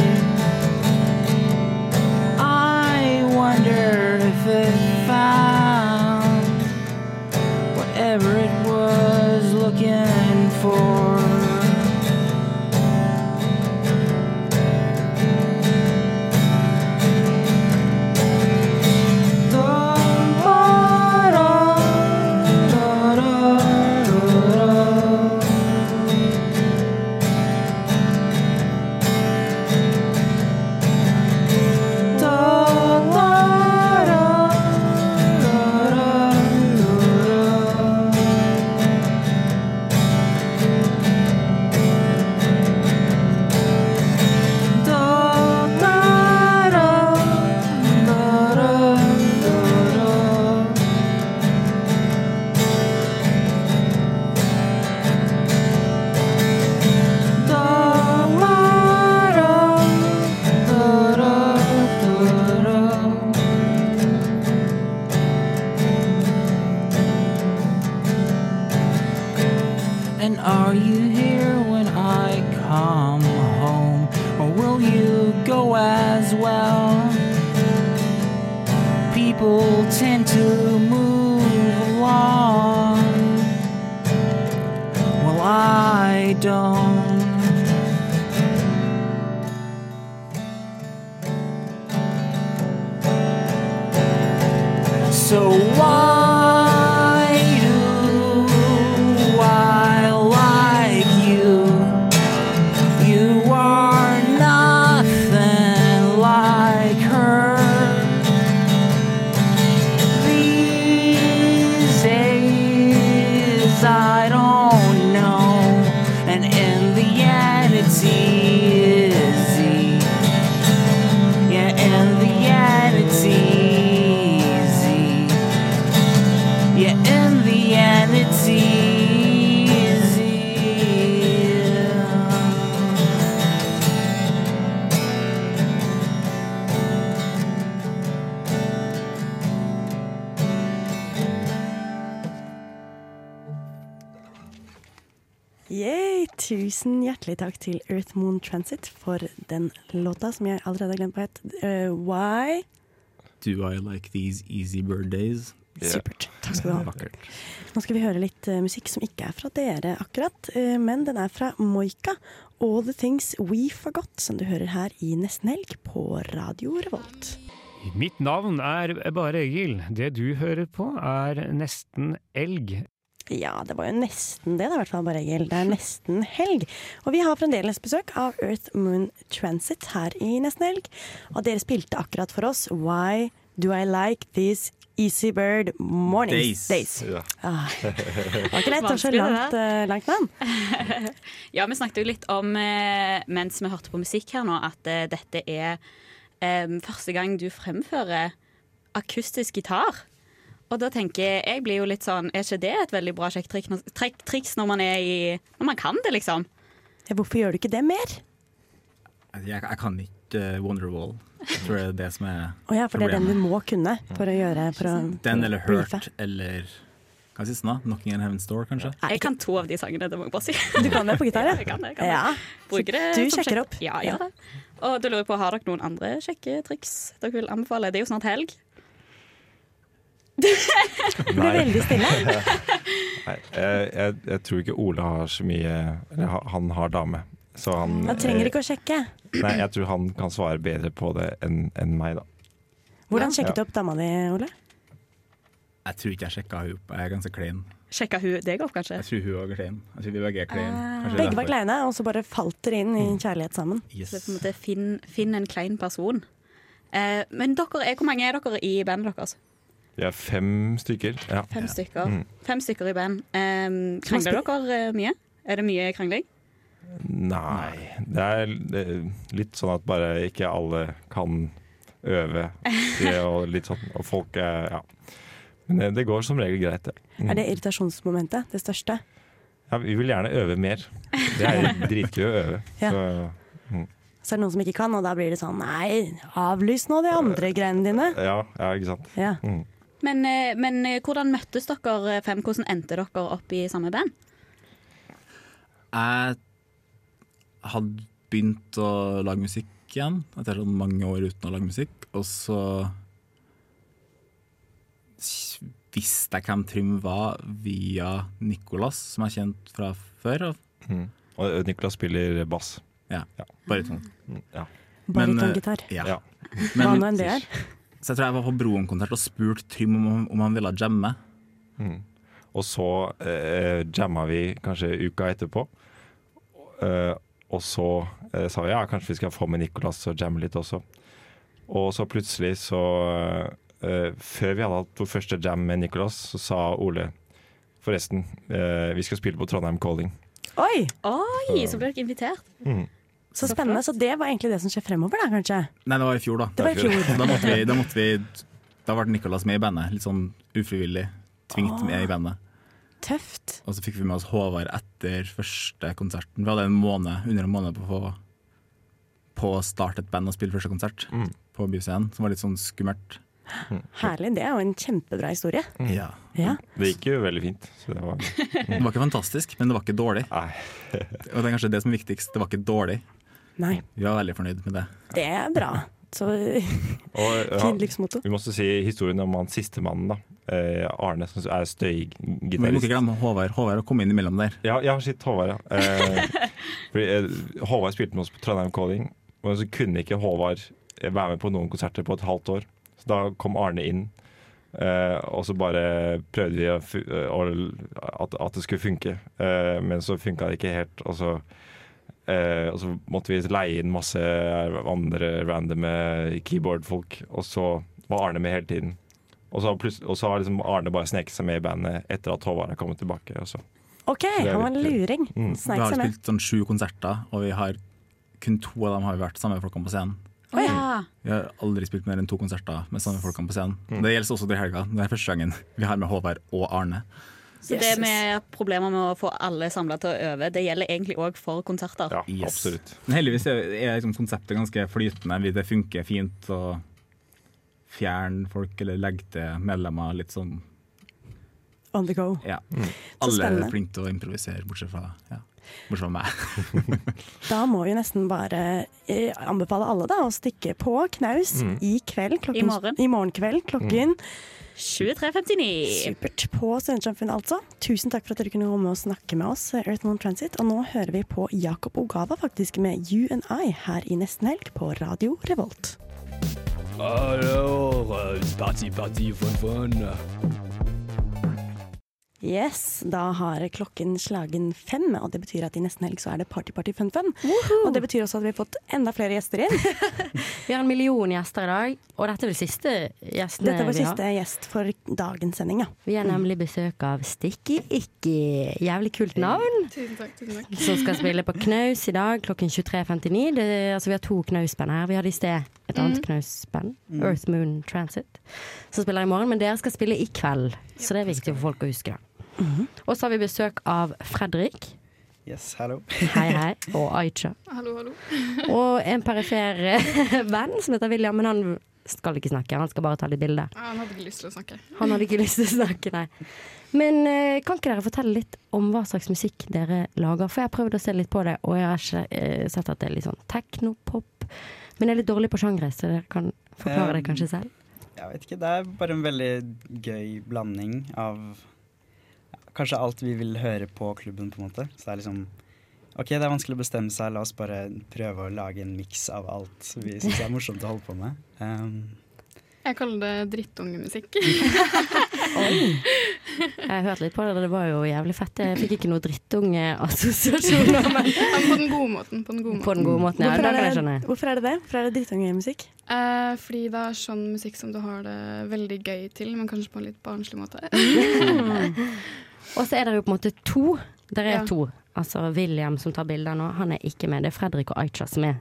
Speaker 18: I wonder if it found Are you here when I come home? Or will you go as well? People tend to move along. Well, I don't. So why do I like you? You are nothing like her. These days I don't know, and in the end it's easy. Yeah, in the end it's easy. Yeah, in the end, it's easy.
Speaker 1: Yay! Tusen hjertelig takk til Earth Moon Transit for den låta som jeg allerede har glemt hva het. Eh, why?
Speaker 14: Do I like these easy bird days?
Speaker 1: Supert. Takk skal du ha.
Speaker 14: Vakkert.
Speaker 1: Nå skal vi høre litt eh, musikk som ikke er fra dere akkurat, eh, men den er fra Moika. All the things we forgot, som du hører her i Nesten Helg på Radio Revolt.
Speaker 17: Mitt navn er Bare Egil. Det du hører på er Nesten Elg.
Speaker 1: Ja, det var jo nesten det, da, i hvert fall, Bare Egil. Det er nesten helg. Og vi har fremdeles besøk av Earth Moon Transit her i Nesten Helg. Og dere spilte akkurat for oss Why Do I Like These Easy Bird Mornings Days. Ah, det var ikke lett å så
Speaker 4: Vanskelig, det
Speaker 1: langt, eh, langt navn.
Speaker 4: Ja, vi snakket jo litt om eh, mens vi hørte på musikk her nå, at eh, dette er eh, første gang du fremfører akustisk gitar. Og da tenker jeg, jeg blir jo litt sånn, er ikke det et veldig bra kjekt trik- trik- triks når man er i Når man kan det, liksom?
Speaker 1: Ja, hvorfor gjør du ikke det mer?
Speaker 14: Altså, Jeg, jeg kan ikke eh, Wonderwall. Jeg tror det er det som er
Speaker 1: Å ja, for det er den du må kunne for å gjøre for å,
Speaker 14: Den eller
Speaker 1: for å briefe.
Speaker 14: Hurt eller Hva sies nå? Knocking on Heaven's Door, kanskje?
Speaker 4: Jeg kan to av de sangene, det må jeg bare si.
Speaker 1: Du kan det på gitar, ja?
Speaker 4: Jeg kan det, jeg kan
Speaker 1: Ja.
Speaker 4: det. Bruker det
Speaker 1: Du
Speaker 4: som
Speaker 1: sjekker
Speaker 4: sjekk-
Speaker 1: opp.
Speaker 4: Ja, jeg gjør det. Og da lurer jeg på, har dere noen andre kjekke triks dere vil anbefale? Det er jo snart helg.
Speaker 11: Det
Speaker 1: ble veldig stille.
Speaker 11: Nei, jeg, jeg, jeg tror ikke Ole har så mye Eller ha- han har dame. Så han eh,
Speaker 1: Man trenger ikke å sjekke.
Speaker 11: Nei, jeg tror han kan svare bedre på det enn enn meg, da.
Speaker 1: Hvordan
Speaker 11: Ja.
Speaker 1: sjekket du opp dama di, Ole?
Speaker 14: Jeg tror ikke jeg sjekka henne opp. Jeg er ganske klein.
Speaker 4: Sjekka hun deg opp, kanskje?
Speaker 14: Jeg tror hun også er klein. Jeg tror vi begge er klein. Kanskje
Speaker 1: Ah. Begge
Speaker 14: derfor.
Speaker 1: var
Speaker 14: Mm.
Speaker 1: kleine, og så bare falt dere inn i kjærlighet sammen.
Speaker 4: Så på en måte finn, finn en klein person. Eh, men dere er, hvor mange er dere i bandet deres?
Speaker 11: Vi er fem stykker. Ja.
Speaker 4: Fem stykker.
Speaker 11: Mm.
Speaker 4: Fem stykker i band. Eh, krangler dere eh, mye? Er det mye krangling?
Speaker 11: Nei. Det er eh, litt sånn at bare ikke alle kan øve. Det, og litt sånn, og folk er Ja. Men eh, det går som regel greit, det. Mm.
Speaker 1: Er det irritasjonsmomentet det største?
Speaker 11: Ja, vi vil gjerne øve mer. Det er jo dritgøy å øve.
Speaker 1: Ja.
Speaker 11: Så, mm.
Speaker 1: Så er det noen som ikke kan, og da blir det sånn Nei, avlys nå de andre greiene dine.
Speaker 11: ja, ja, ikke sant.
Speaker 1: Ja.
Speaker 11: Mm.
Speaker 4: Men, eh, men eh, hvordan møttes dere eh, fem? Hvordan endte dere opp i samme band?
Speaker 14: Jeg hadde begynt å lage musikk igjen etter sånn mange år uten å lage musikk, og så visste jeg hvem Trym var via Nicolas, som jeg kjente fra før av.
Speaker 11: Mm. Og Nicolas spiller bass. Mm,
Speaker 14: Ja, bariton.
Speaker 11: Ja.
Speaker 14: Men, eh,
Speaker 1: Baritongitar.
Speaker 14: Ja.
Speaker 1: Hva nå enn det er.
Speaker 14: Så jeg tror jeg var på Broen-konsert og spurte Trym om, han- om han ville jamme.
Speaker 11: Mm. Og så eh, jamma vi kanskje uka etterpå. Eh, og så eh, sa vi ja, kanskje vi skal få med Nicolas og jamme litt også. Og så plutselig så eh, Før vi hadde hatt vår første jam med Nicolas, så sa Ole forresten, eh, vi skal spille på Trondheim Calling.
Speaker 1: Oi!
Speaker 4: Oi, så ble dere invitert.
Speaker 11: Mm.
Speaker 1: Så spennende. Så det var egentlig det som skjer fremover, da, kanskje.
Speaker 14: Nei, det var i fjor, da.
Speaker 1: Det var i fjor.
Speaker 14: Da måtte vi, da måtte vi Da ble Nicolas med i bandet, litt sånn ufrivillig. Tvingt med i bandet.
Speaker 1: Tøft.
Speaker 14: Og så fikk vi med oss Håvard etter første konserten. Vi hadde en måned, under en måned på å få
Speaker 11: Mm.
Speaker 14: på å starte et band og spille første konsert på Byscenen, som var litt sånn skummelt. Mm.
Speaker 1: Herlig. Det er jo en kjempebra historie.
Speaker 14: Ja.
Speaker 1: Ja.
Speaker 11: Det gikk jo veldig fint. Så det var
Speaker 14: Det var ikke fantastisk, men det var ikke dårlig. Og det er kanskje det som er viktigst, det var ikke dårlig.
Speaker 1: Nei.
Speaker 14: Vi var veldig fornøyd med det.
Speaker 1: Det er bra. Så
Speaker 11: Og, ja,
Speaker 1: Fin livsmotto.
Speaker 11: Vi må også si historien om han sistemannen, da. Eh, Arne, som er støygitarist.
Speaker 14: Men vi må ikke glemme Håvard. Håvard har kommet inn imellom der.
Speaker 11: Ja, ja sitt Håvard, ja. Eh, fordi, eh, Håvard spilte med oss på Trondheim Calling, og så kunne ikke Håvard eh, være med på noen konserter på et halvt år. Så da kom Arne inn, eh, og så bare prøvde vi å, fu- eh, å- at, at det skulle funke. Eh, men så funka det ikke helt, og så Eh, og så måtte vi leie inn masse andre randome keyboardfolk, og så var Arne med hele tiden. Og så, har plutselig- og så har liksom Arne bare sneket seg med i bandet etter at Håvard har kommet tilbake. Og så.
Speaker 1: OK,
Speaker 11: Det er
Speaker 1: han var en
Speaker 11: litt-
Speaker 1: luring.
Speaker 11: Mm.
Speaker 14: Vi
Speaker 1: Sneik
Speaker 14: har
Speaker 1: seg med.
Speaker 14: spilt sånn sju konserter, og vi har kun to av dem har vi vært sammen med folkene på scenen.
Speaker 10: Å ja.
Speaker 14: Vi har aldri spilt mer enn to konserter med samme folkene på scenen. Det gjelder også til helga. Det er første gangen vi har med Håvard og Arne.
Speaker 10: Så det med problemer med å få alle samla til å øve, det gjelder egentlig òg for konserter.
Speaker 14: absolutt. Men heldigvis er, er liksom konseptet ganske flytende. Vi- Det funker fint å fjerne folk eller legge til medlemmer litt sånn.
Speaker 1: On the go.
Speaker 14: Ja.
Speaker 1: Så
Speaker 14: Alle er
Speaker 1: spennende.
Speaker 14: flinke til å improvisere, bortsett fra, ja. bortsett fra meg.
Speaker 1: Da må vi nesten bare eh, anbefale alle da, å stikke på knaus
Speaker 14: Mm.
Speaker 1: i kveld.
Speaker 10: I morgen.
Speaker 1: i morgen kveld klokken
Speaker 4: Mm.
Speaker 10: 23.59.
Speaker 1: Supert. På Studentsamfunnet, altså. Tusen takk for at dere kunne komme og snakke med oss, eh, Earth Moon Transit. Og nå hører vi på Jakob Ogava faktisk med You and I her i Nesten Helg på Radio Revolt.
Speaker 19: Alors, euh, c'est parti, parti, fun, fun.
Speaker 1: Yes, da har klokken slagen fem, og det betyr at i nesten helg så er det party, party, fun, fun. Og det betyr også at vi har fått enda flere gjester inn.
Speaker 8: Vi har en million gjester i dag, og dette er vel siste gjesten
Speaker 1: Dette er vår
Speaker 8: vi
Speaker 1: siste gjest for dagens sending, ja. Mm.
Speaker 8: Vi har nemlig besøk av Stikki Ikki. Jævlig kult navn.
Speaker 20: Tusen takk. tusen takk
Speaker 8: Som skal spille på knaus i dag klokken 23.59. Det, altså, vi har to knausband her. Vi hadde i sted et
Speaker 1: Mhm.
Speaker 8: annet
Speaker 20: Mm.
Speaker 8: knausband,
Speaker 20: Mm.
Speaker 8: Earth Moon Transit, som spiller i morgen. Men dere skal spille i kveld, så det er viktig for folk å huske. det.
Speaker 1: Mhm.
Speaker 8: Og så har vi besøk av Fredrik.
Speaker 21: Yes, hallo.
Speaker 8: Hei, hei. Og Aicha.
Speaker 20: Hallo, hallo.
Speaker 8: Og en perifer eh, venn som heter William, men han skal ikke snakke. Han skal bare ta litt bilder.
Speaker 20: Ah, Han hadde ikke lyst til å snakke.
Speaker 8: Han hadde ikke lyst til å snakke, nei. Men eh, kan ikke dere fortelle litt om hva slags musikk dere lager? For jeg har prøvd å se litt på det, og jeg har ikke, eh, sett at det er litt sånn teknopop. Men jeg er litt dårlig på sjangre, så dere kan forklare det kanskje selv.
Speaker 21: Um, Jeg vet ikke, det er bare en veldig gøy blanding av ja, kanskje alt vi vil høre på klubben, på en måte. Så det er liksom OK, det er vanskelig å bestemme seg, la oss bare prøve å lage en miks av alt vi syns er morsomt å holde på med. Ehm,
Speaker 20: Jeg kaller det drittungemusikk.
Speaker 8: Jeg har hørt litt på det, og det var jo jævlig fett. Jeg fikk ikke noe drittunge-assosiasjoner, men
Speaker 20: Ja, men på den gode måten. På den gode måten.
Speaker 8: På den gode måten, ja.
Speaker 1: Hvorfor
Speaker 8: det
Speaker 1: er
Speaker 8: kan jeg
Speaker 1: det-
Speaker 8: skjønne.
Speaker 1: Hvorfor er det det? Hvorfor er det drittungemusikk?
Speaker 20: Eh, fordi det er sånn musikk som du har det veldig gøy til, men kanskje på en litt barnslig måte.
Speaker 8: Mm. Og så er dere jo på en måte to. Dere er
Speaker 20: Ja.
Speaker 8: to. Altså William som tar bilder nå, han er ikke med. Det er Fredrik og Aicha som er.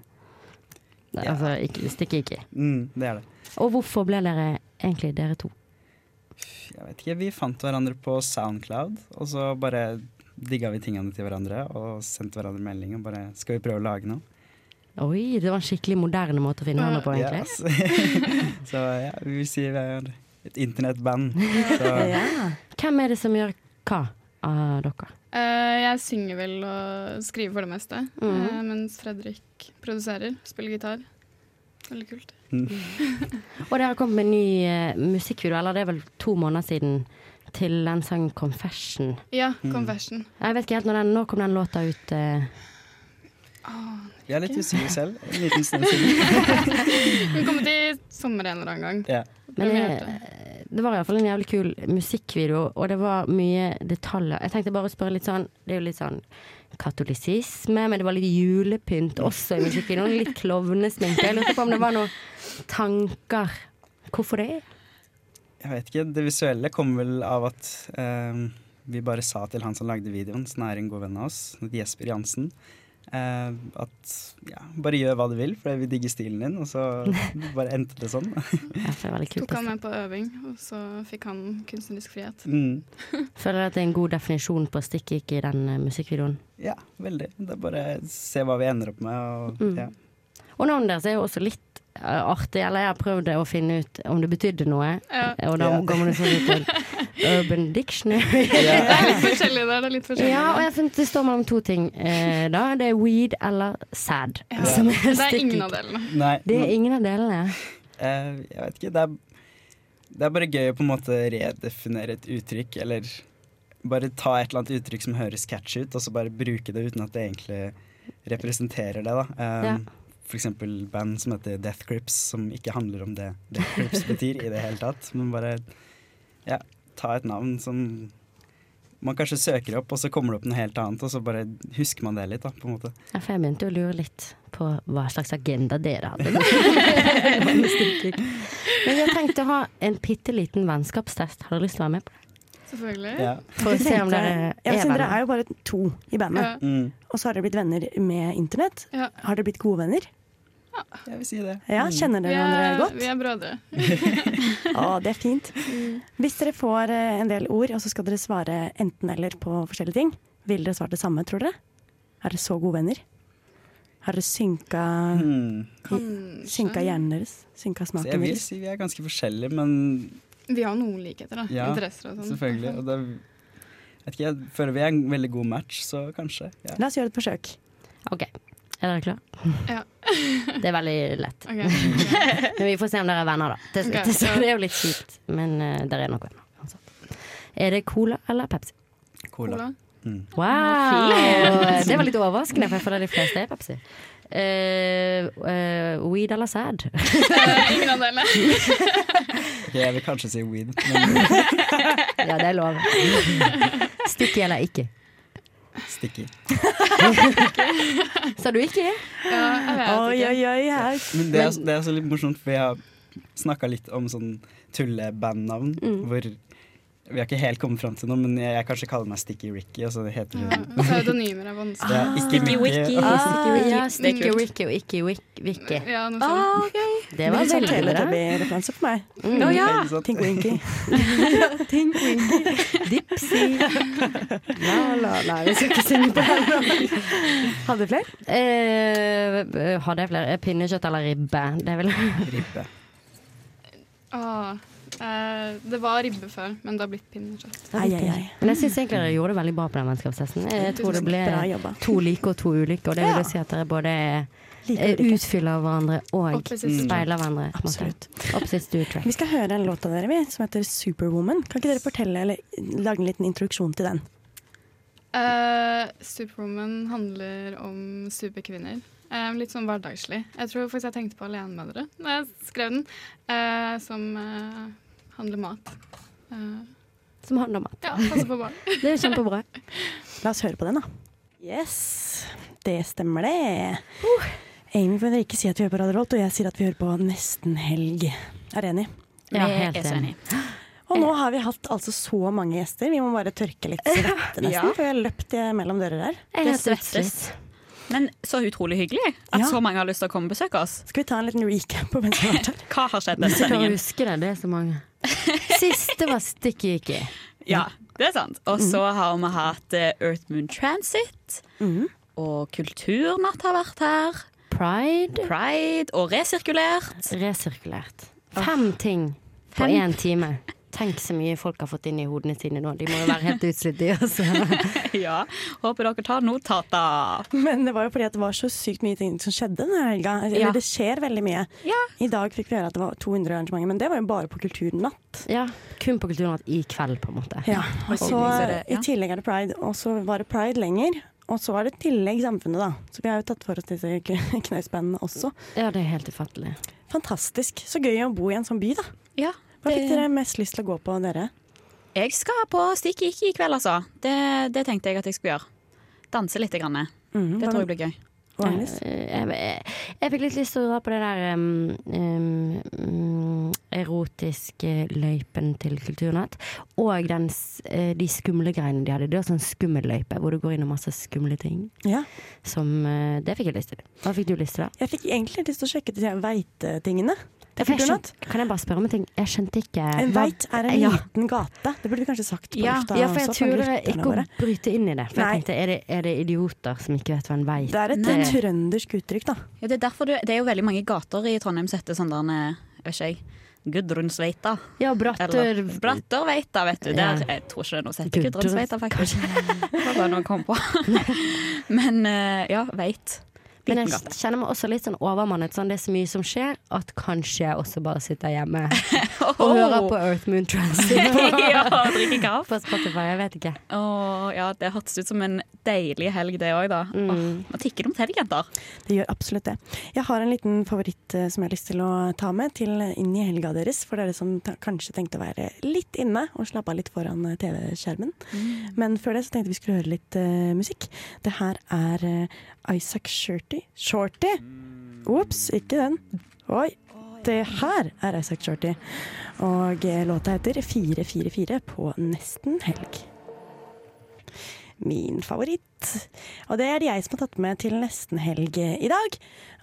Speaker 8: Altså, ikke, stikker ikke.
Speaker 21: mm, det er det.
Speaker 8: Og hvorfor ble dere egentlig dere to?
Speaker 21: Jeg vet ikke, vi fant hverandre på Soundcloud, og så bare digga vi tingene til hverandre og sendte hverandre melding og bare Skal vi prøve å lage noe?
Speaker 8: Oi, det var en skikkelig moderne måte å finne hverandre på,
Speaker 21: Ja,
Speaker 8: egentlig.
Speaker 21: altså. så ja, vi vil si vi er et internettband. Så
Speaker 8: Hvem er det som gjør hva av dere?
Speaker 20: Eh, jeg synger vel og skriver for det meste,
Speaker 8: Mhm.
Speaker 20: eh, mens Fredrik produserer, spiller gitar. Veldig kult.
Speaker 8: Og dere har kommet med en ny eh, musikkvideo, eller det er vel to måneder siden, til den sangen 'Confession'.
Speaker 20: Ja,
Speaker 8: Mm.
Speaker 20: Confession.
Speaker 8: Jeg vet ikke helt når den Når kom den låta ut? eh?
Speaker 21: vi er litt usikre selv. En liten stund siden.
Speaker 20: Den kommer til sommer en eller annen gang.
Speaker 8: Men
Speaker 20: Premierte.
Speaker 8: det, det var iallfall en jævlig kul musikkvideo, og det var mye detaljer. Jeg tenkte bare å spørre litt sånn Det er jo litt sånn katolisisme, men det var litt julepynt også i musikkvideoen. Litt klovnesminke. Jeg lurte på om det var noen tanker. Hvorfor det?
Speaker 21: Jeg vet ikke, det visuelle kommer vel av at eh, vi bare sa til han som lagde videoen, som er en god venn av oss, Jesper Jansen, eh, at ja, bare gjør hva du vil, for vi digger stilen din, og så bare endte det sånn.
Speaker 20: Tok han med på øving, og så fikk han kunstnerisk frihet.
Speaker 21: Mm.
Speaker 8: Føler dere at det er en god definisjon på stikk ikke i den eh, musikkvideoen?
Speaker 21: Ja, veldig. Det er bare se hva vi ender opp med, og
Speaker 8: Mm.
Speaker 21: ja.
Speaker 8: Og navnet deres er jo også litt eh, artig. Eller jeg har prøvd å finne ut om det betydde noe.
Speaker 20: Ja.
Speaker 8: Og da
Speaker 20: Ja.
Speaker 8: går man liksom ut til Urban Dictionary.
Speaker 20: Det er litt forskjellig der. Det er litt forskjellig
Speaker 8: Ja, og
Speaker 20: der.
Speaker 8: jeg funnet det står mellom to ting eh, da. Det er weed eller sad.
Speaker 20: Ja.
Speaker 8: som
Speaker 20: Det er
Speaker 8: stikkord.
Speaker 20: ingen av delene.
Speaker 21: Nei,
Speaker 8: Det er
Speaker 21: men-
Speaker 8: ingen av delene.
Speaker 21: Eh, jeg vet ikke. Det er, det er bare gøy å på en måte redefinere et uttrykk, eller bare ta et eller annet uttrykk som høres catchy ut, og så bare bruke det uten at det egentlig representerer det. da. Eh,
Speaker 8: Ja.
Speaker 21: For eksempel band som heter Death Grips, som ikke handler om det Death Grips betyr i det hele tatt, men bare ja, ta et navn som man kanskje søker opp, og så kommer det opp noe helt annet, og så bare husker man det litt, da, på en måte.
Speaker 8: Ja, for jeg begynte å lure litt på hva slags agenda dere hadde. Men jeg tenkte å ha en bitte liten vennskapstest. Har du lyst til å være med på det?
Speaker 20: Selvfølgelig.
Speaker 8: Ja. For å se om dere
Speaker 1: Eh, ja,
Speaker 8: er
Speaker 1: siden Dere
Speaker 8: venner.
Speaker 1: er jo bare to i
Speaker 20: Ja.
Speaker 1: bandet.
Speaker 21: Mm.
Speaker 1: Og så har dere blitt venner med internett.
Speaker 20: Ja.
Speaker 1: Har dere blitt gode venner?
Speaker 21: Jeg vil si det. Mm.
Speaker 1: Ja, Kjenner dere
Speaker 20: Vi er-
Speaker 1: hverandre godt?
Speaker 20: Vi er brødre.
Speaker 1: Å, Ah, det er fint.
Speaker 20: Mm.
Speaker 1: Hvis dere får eh, en del ord, og så skal dere svare enten-eller på forskjellige ting, ville dere svart det samme, tror dere? Er dere så gode venner? Har dere synka,
Speaker 20: Kanskje.
Speaker 1: synka hjernen deres? Synka
Speaker 21: Mm. Så jeg
Speaker 1: smaken
Speaker 21: vil
Speaker 1: deres?
Speaker 21: si vi er ganske forskjellige, men
Speaker 20: Vi har noen likheter, da. Interesser og sånn.
Speaker 21: Selvfølgelig. Og det, vet ikke, jeg føler vi er en veldig god match, så kanskje. Ja.
Speaker 1: La oss gjøre et forsøk.
Speaker 8: Ok, er dere klare?
Speaker 20: Ja.
Speaker 8: Det er veldig lett.
Speaker 20: Ok.
Speaker 8: Men vi får se om dere er venner, da. Til
Speaker 20: Ok,
Speaker 8: slutt. Så
Speaker 20: ja.
Speaker 8: det er jo litt kjipt, men eh, dere er nok venner. Altså. Er det cola eller Pepsi?
Speaker 21: Cola. Mm.
Speaker 8: Wow!
Speaker 20: Fint.
Speaker 8: Det var litt overraskende, for jeg føler de fleste er Pepsi. Eh, eh, weed eller sad?
Speaker 20: Eh, Ingen av delene.
Speaker 21: Ok, jeg vil kanskje si weed. Men
Speaker 8: ja, det er lov. Sticky eller ikke?
Speaker 21: sticky.
Speaker 8: Sa du ikke?
Speaker 20: Ja, jeg vet ikke.
Speaker 1: oi, her.
Speaker 21: Men det er, altså- det er så litt morsomt, for vi har snakka litt om sånn tullebandnavn.
Speaker 20: Mm.
Speaker 21: Hvor vi har ikke helt kommet fram til noe, men jeg, jeg kanskje kaller meg Sticky Ricky. Og så heter
Speaker 20: Ja,
Speaker 21: hun
Speaker 20: og Pseudonymer er vanskelig.
Speaker 21: Ja, ikke Mickey,
Speaker 8: Wicky.
Speaker 21: og-
Speaker 8: Ah. Sticky Wicky.
Speaker 20: Ah,
Speaker 8: Sticky
Speaker 20: kult.
Speaker 8: Wicky og ikke Wick- Wicky. Ah,
Speaker 20: Ja, noe sånt.
Speaker 8: Det var
Speaker 1: litt sånn
Speaker 8: veldig bra.
Speaker 1: Teletubby-referanse for meg.
Speaker 8: Mm. Å, ja.
Speaker 1: Tink Winky.
Speaker 8: Tink Winky. Dipsy. La, la, la. Vi skal ikke synge på den.
Speaker 1: Hadde du flere?
Speaker 8: Eh, hadde jeg flere? Pinnekjøtt eller ribbe? Det vil
Speaker 21: Ribbe.
Speaker 20: Ah, eh, det var ribbe før, men det har blitt pinnekjøtt.
Speaker 1: Ai, ai, ai.
Speaker 8: Men jeg syns egentlig dere gjorde det veldig bra på den vennskapstesten. Jeg tror det ble
Speaker 20: Bra
Speaker 8: to like og to ulike, og det vil jo si at dere både eh, utfyller hverandre og
Speaker 1: Opposite.
Speaker 8: speiler hverandre. på en måte.
Speaker 1: Absolutt.
Speaker 8: Opposite do track.
Speaker 1: Vi skal høre en låt av dere vi, som heter Superwoman. Kan ikke dere fortelle, eller lage en liten introduksjon til den?
Speaker 20: Eh, Superwoman handler om superkvinner. Eh, litt sånn hverdagslig. Jeg tror faktisk jeg tenkte på alenemødre da jeg skrev den, eh, som eh, handler mat. Eh,
Speaker 8: Som handler om mat.
Speaker 20: ja, passer på barn.
Speaker 8: Det er jo kjempebra.
Speaker 1: La oss høre på den, da. Yes, det stemmer det. Amy får ikke si at vi hører på Radio Rolt, og jeg sier at vi hører på Nesten Helg. Er enig?
Speaker 4: Ja, Jeg helt er så enig.
Speaker 1: Og nå har vi hatt altså så mange gjester. Vi må bare tørke litt svette, nesten,
Speaker 4: Ja.
Speaker 1: for jeg løp eh, mellom dere der.
Speaker 4: Det svettes. Men så utrolig hyggelig at så mange har lyst til å komme og besøke oss.
Speaker 1: Skal vi ta en liten recap på mens vi har vært her?
Speaker 4: Hva har skjedd denne
Speaker 8: Hvis jeg klarer å
Speaker 4: sendingen?
Speaker 8: huske det, det er så mange. Siste var Sticky Icky.
Speaker 4: Ja, det er sant. Og så
Speaker 1: Mhm.
Speaker 4: har vi hatt eh, Earth Moon Transit. Og Kulturnatt har vært her.
Speaker 8: Pride.
Speaker 4: Pride og resirkulert.
Speaker 8: Resirkulert. Fem ting på
Speaker 4: Fem.
Speaker 8: én time. Tenk så mye folk har fått inn i hodene sine nå. De må jo være helt utslitt, de også.
Speaker 4: ja. Håper dere tar notater.
Speaker 1: Men det var jo fordi at det var så sykt mye ting som skjedde denne helga. Eller
Speaker 4: Ja.
Speaker 1: det skjer veldig mye. I dag fikk vi høre at det var 200 arrangementer, men det var jo bare på Kulturnatt.
Speaker 8: Ja, kun på Kulturnatt i kveld, på en måte.
Speaker 1: Ja, og så
Speaker 8: Så eh, det-
Speaker 1: I tillegg er det pride, og så var det pride lenger. Og så er det i tillegg samfunnet, da. Så vi har jo tatt for oss disse k- knausbandene også.
Speaker 8: Ja, det er helt ufattelig.
Speaker 1: Fantastisk. Så gøy å bo i en sånn by, da.
Speaker 4: Ja,
Speaker 1: Hva fikk
Speaker 4: det-
Speaker 1: dere mest lyst til å gå på, dere?
Speaker 4: Jeg skal på Stikk ikke i kveld, altså. Det, det tenkte jeg at jeg skulle gjøre. Danse litt. Grann. det tror jeg blir gøy.
Speaker 8: Jeg, Eh, jeg, jeg fikk litt lyst til å dra på det der um, um, um, erotiske løypen til Kulturnatt. Og den, s- eh, de skumle greiene de hadde. Det var sånn skummelløype hvor du går inn og masse skumle ting.
Speaker 1: Ja.
Speaker 8: Som, eh, det fikk jeg lyst til. Hva fikk du lyst til, da?
Speaker 1: Jeg fikk egentlig lyst til å sjekke de her veitetingene. Det fikk du
Speaker 8: Jeg skjøn-
Speaker 1: natt.
Speaker 8: Kan jeg bare spørre om en ting? Jeg skjønte ikke
Speaker 1: En
Speaker 8: hva-
Speaker 1: veit er en
Speaker 8: Ja.
Speaker 1: liten gate. Det burde du kanskje sagt på
Speaker 8: Ja,
Speaker 1: lufta.
Speaker 8: ja, for jeg
Speaker 1: også, for
Speaker 8: turer
Speaker 1: lytterne
Speaker 8: ikke
Speaker 1: våre.
Speaker 8: å bryte inn i det. For
Speaker 1: Nei.
Speaker 8: jeg tenkte, er det, er det idioter som ikke vet hva en veit
Speaker 1: Det er et
Speaker 8: Nei.
Speaker 1: trøndersk uttrykk, da.
Speaker 4: Ja, det, er derfor du, det er jo veldig mange gater i Trondheim som heter sånn der eh, vet ikke jeg, Gudrunsveita.
Speaker 8: Ja, Bratter-
Speaker 4: Eller Bratterveita, vet du.
Speaker 8: Ja.
Speaker 4: Der, jeg tror ikke det er noe som heter
Speaker 8: Gudrun-
Speaker 4: Gudrunsveita, faktisk. Det var bare noe jeg kom på. Men eh, ja, veit.
Speaker 8: Men
Speaker 4: Liten
Speaker 8: jeg
Speaker 4: gate.
Speaker 8: kjenner meg også litt sånn overmannet. Sånn, det er så mye som skjer, at kanskje jeg også bare sitter hjemme og hører på Earth Moon Transit på,
Speaker 4: Oh. ja, og drikker kaffe.
Speaker 8: på Spotify. Jeg vet ikke.
Speaker 4: Åh, ja, det hørtes ut som en deilig helg, det òg, da.
Speaker 8: Mm.
Speaker 4: Åh, Nå tikker det om helg, jenter.
Speaker 1: Det gjør absolutt det. Jeg har en liten favoritt eh, som jeg har lyst til å ta med til inn i helga deres, for dere som ta- kanskje tenkte å være litt inne og slappe av litt foran eh, TV-skjermen. Men før det så tenkte vi skulle høre litt eh, musikk. Det her er eh, Isaac Shorty. Shorty! Ops, ikke den. Oi. Det her er Isaac Shorty. Og eh, låta heter 444 på nesten helg min favoritt. Og det er det jeg som har tatt med til nesten helg i dag.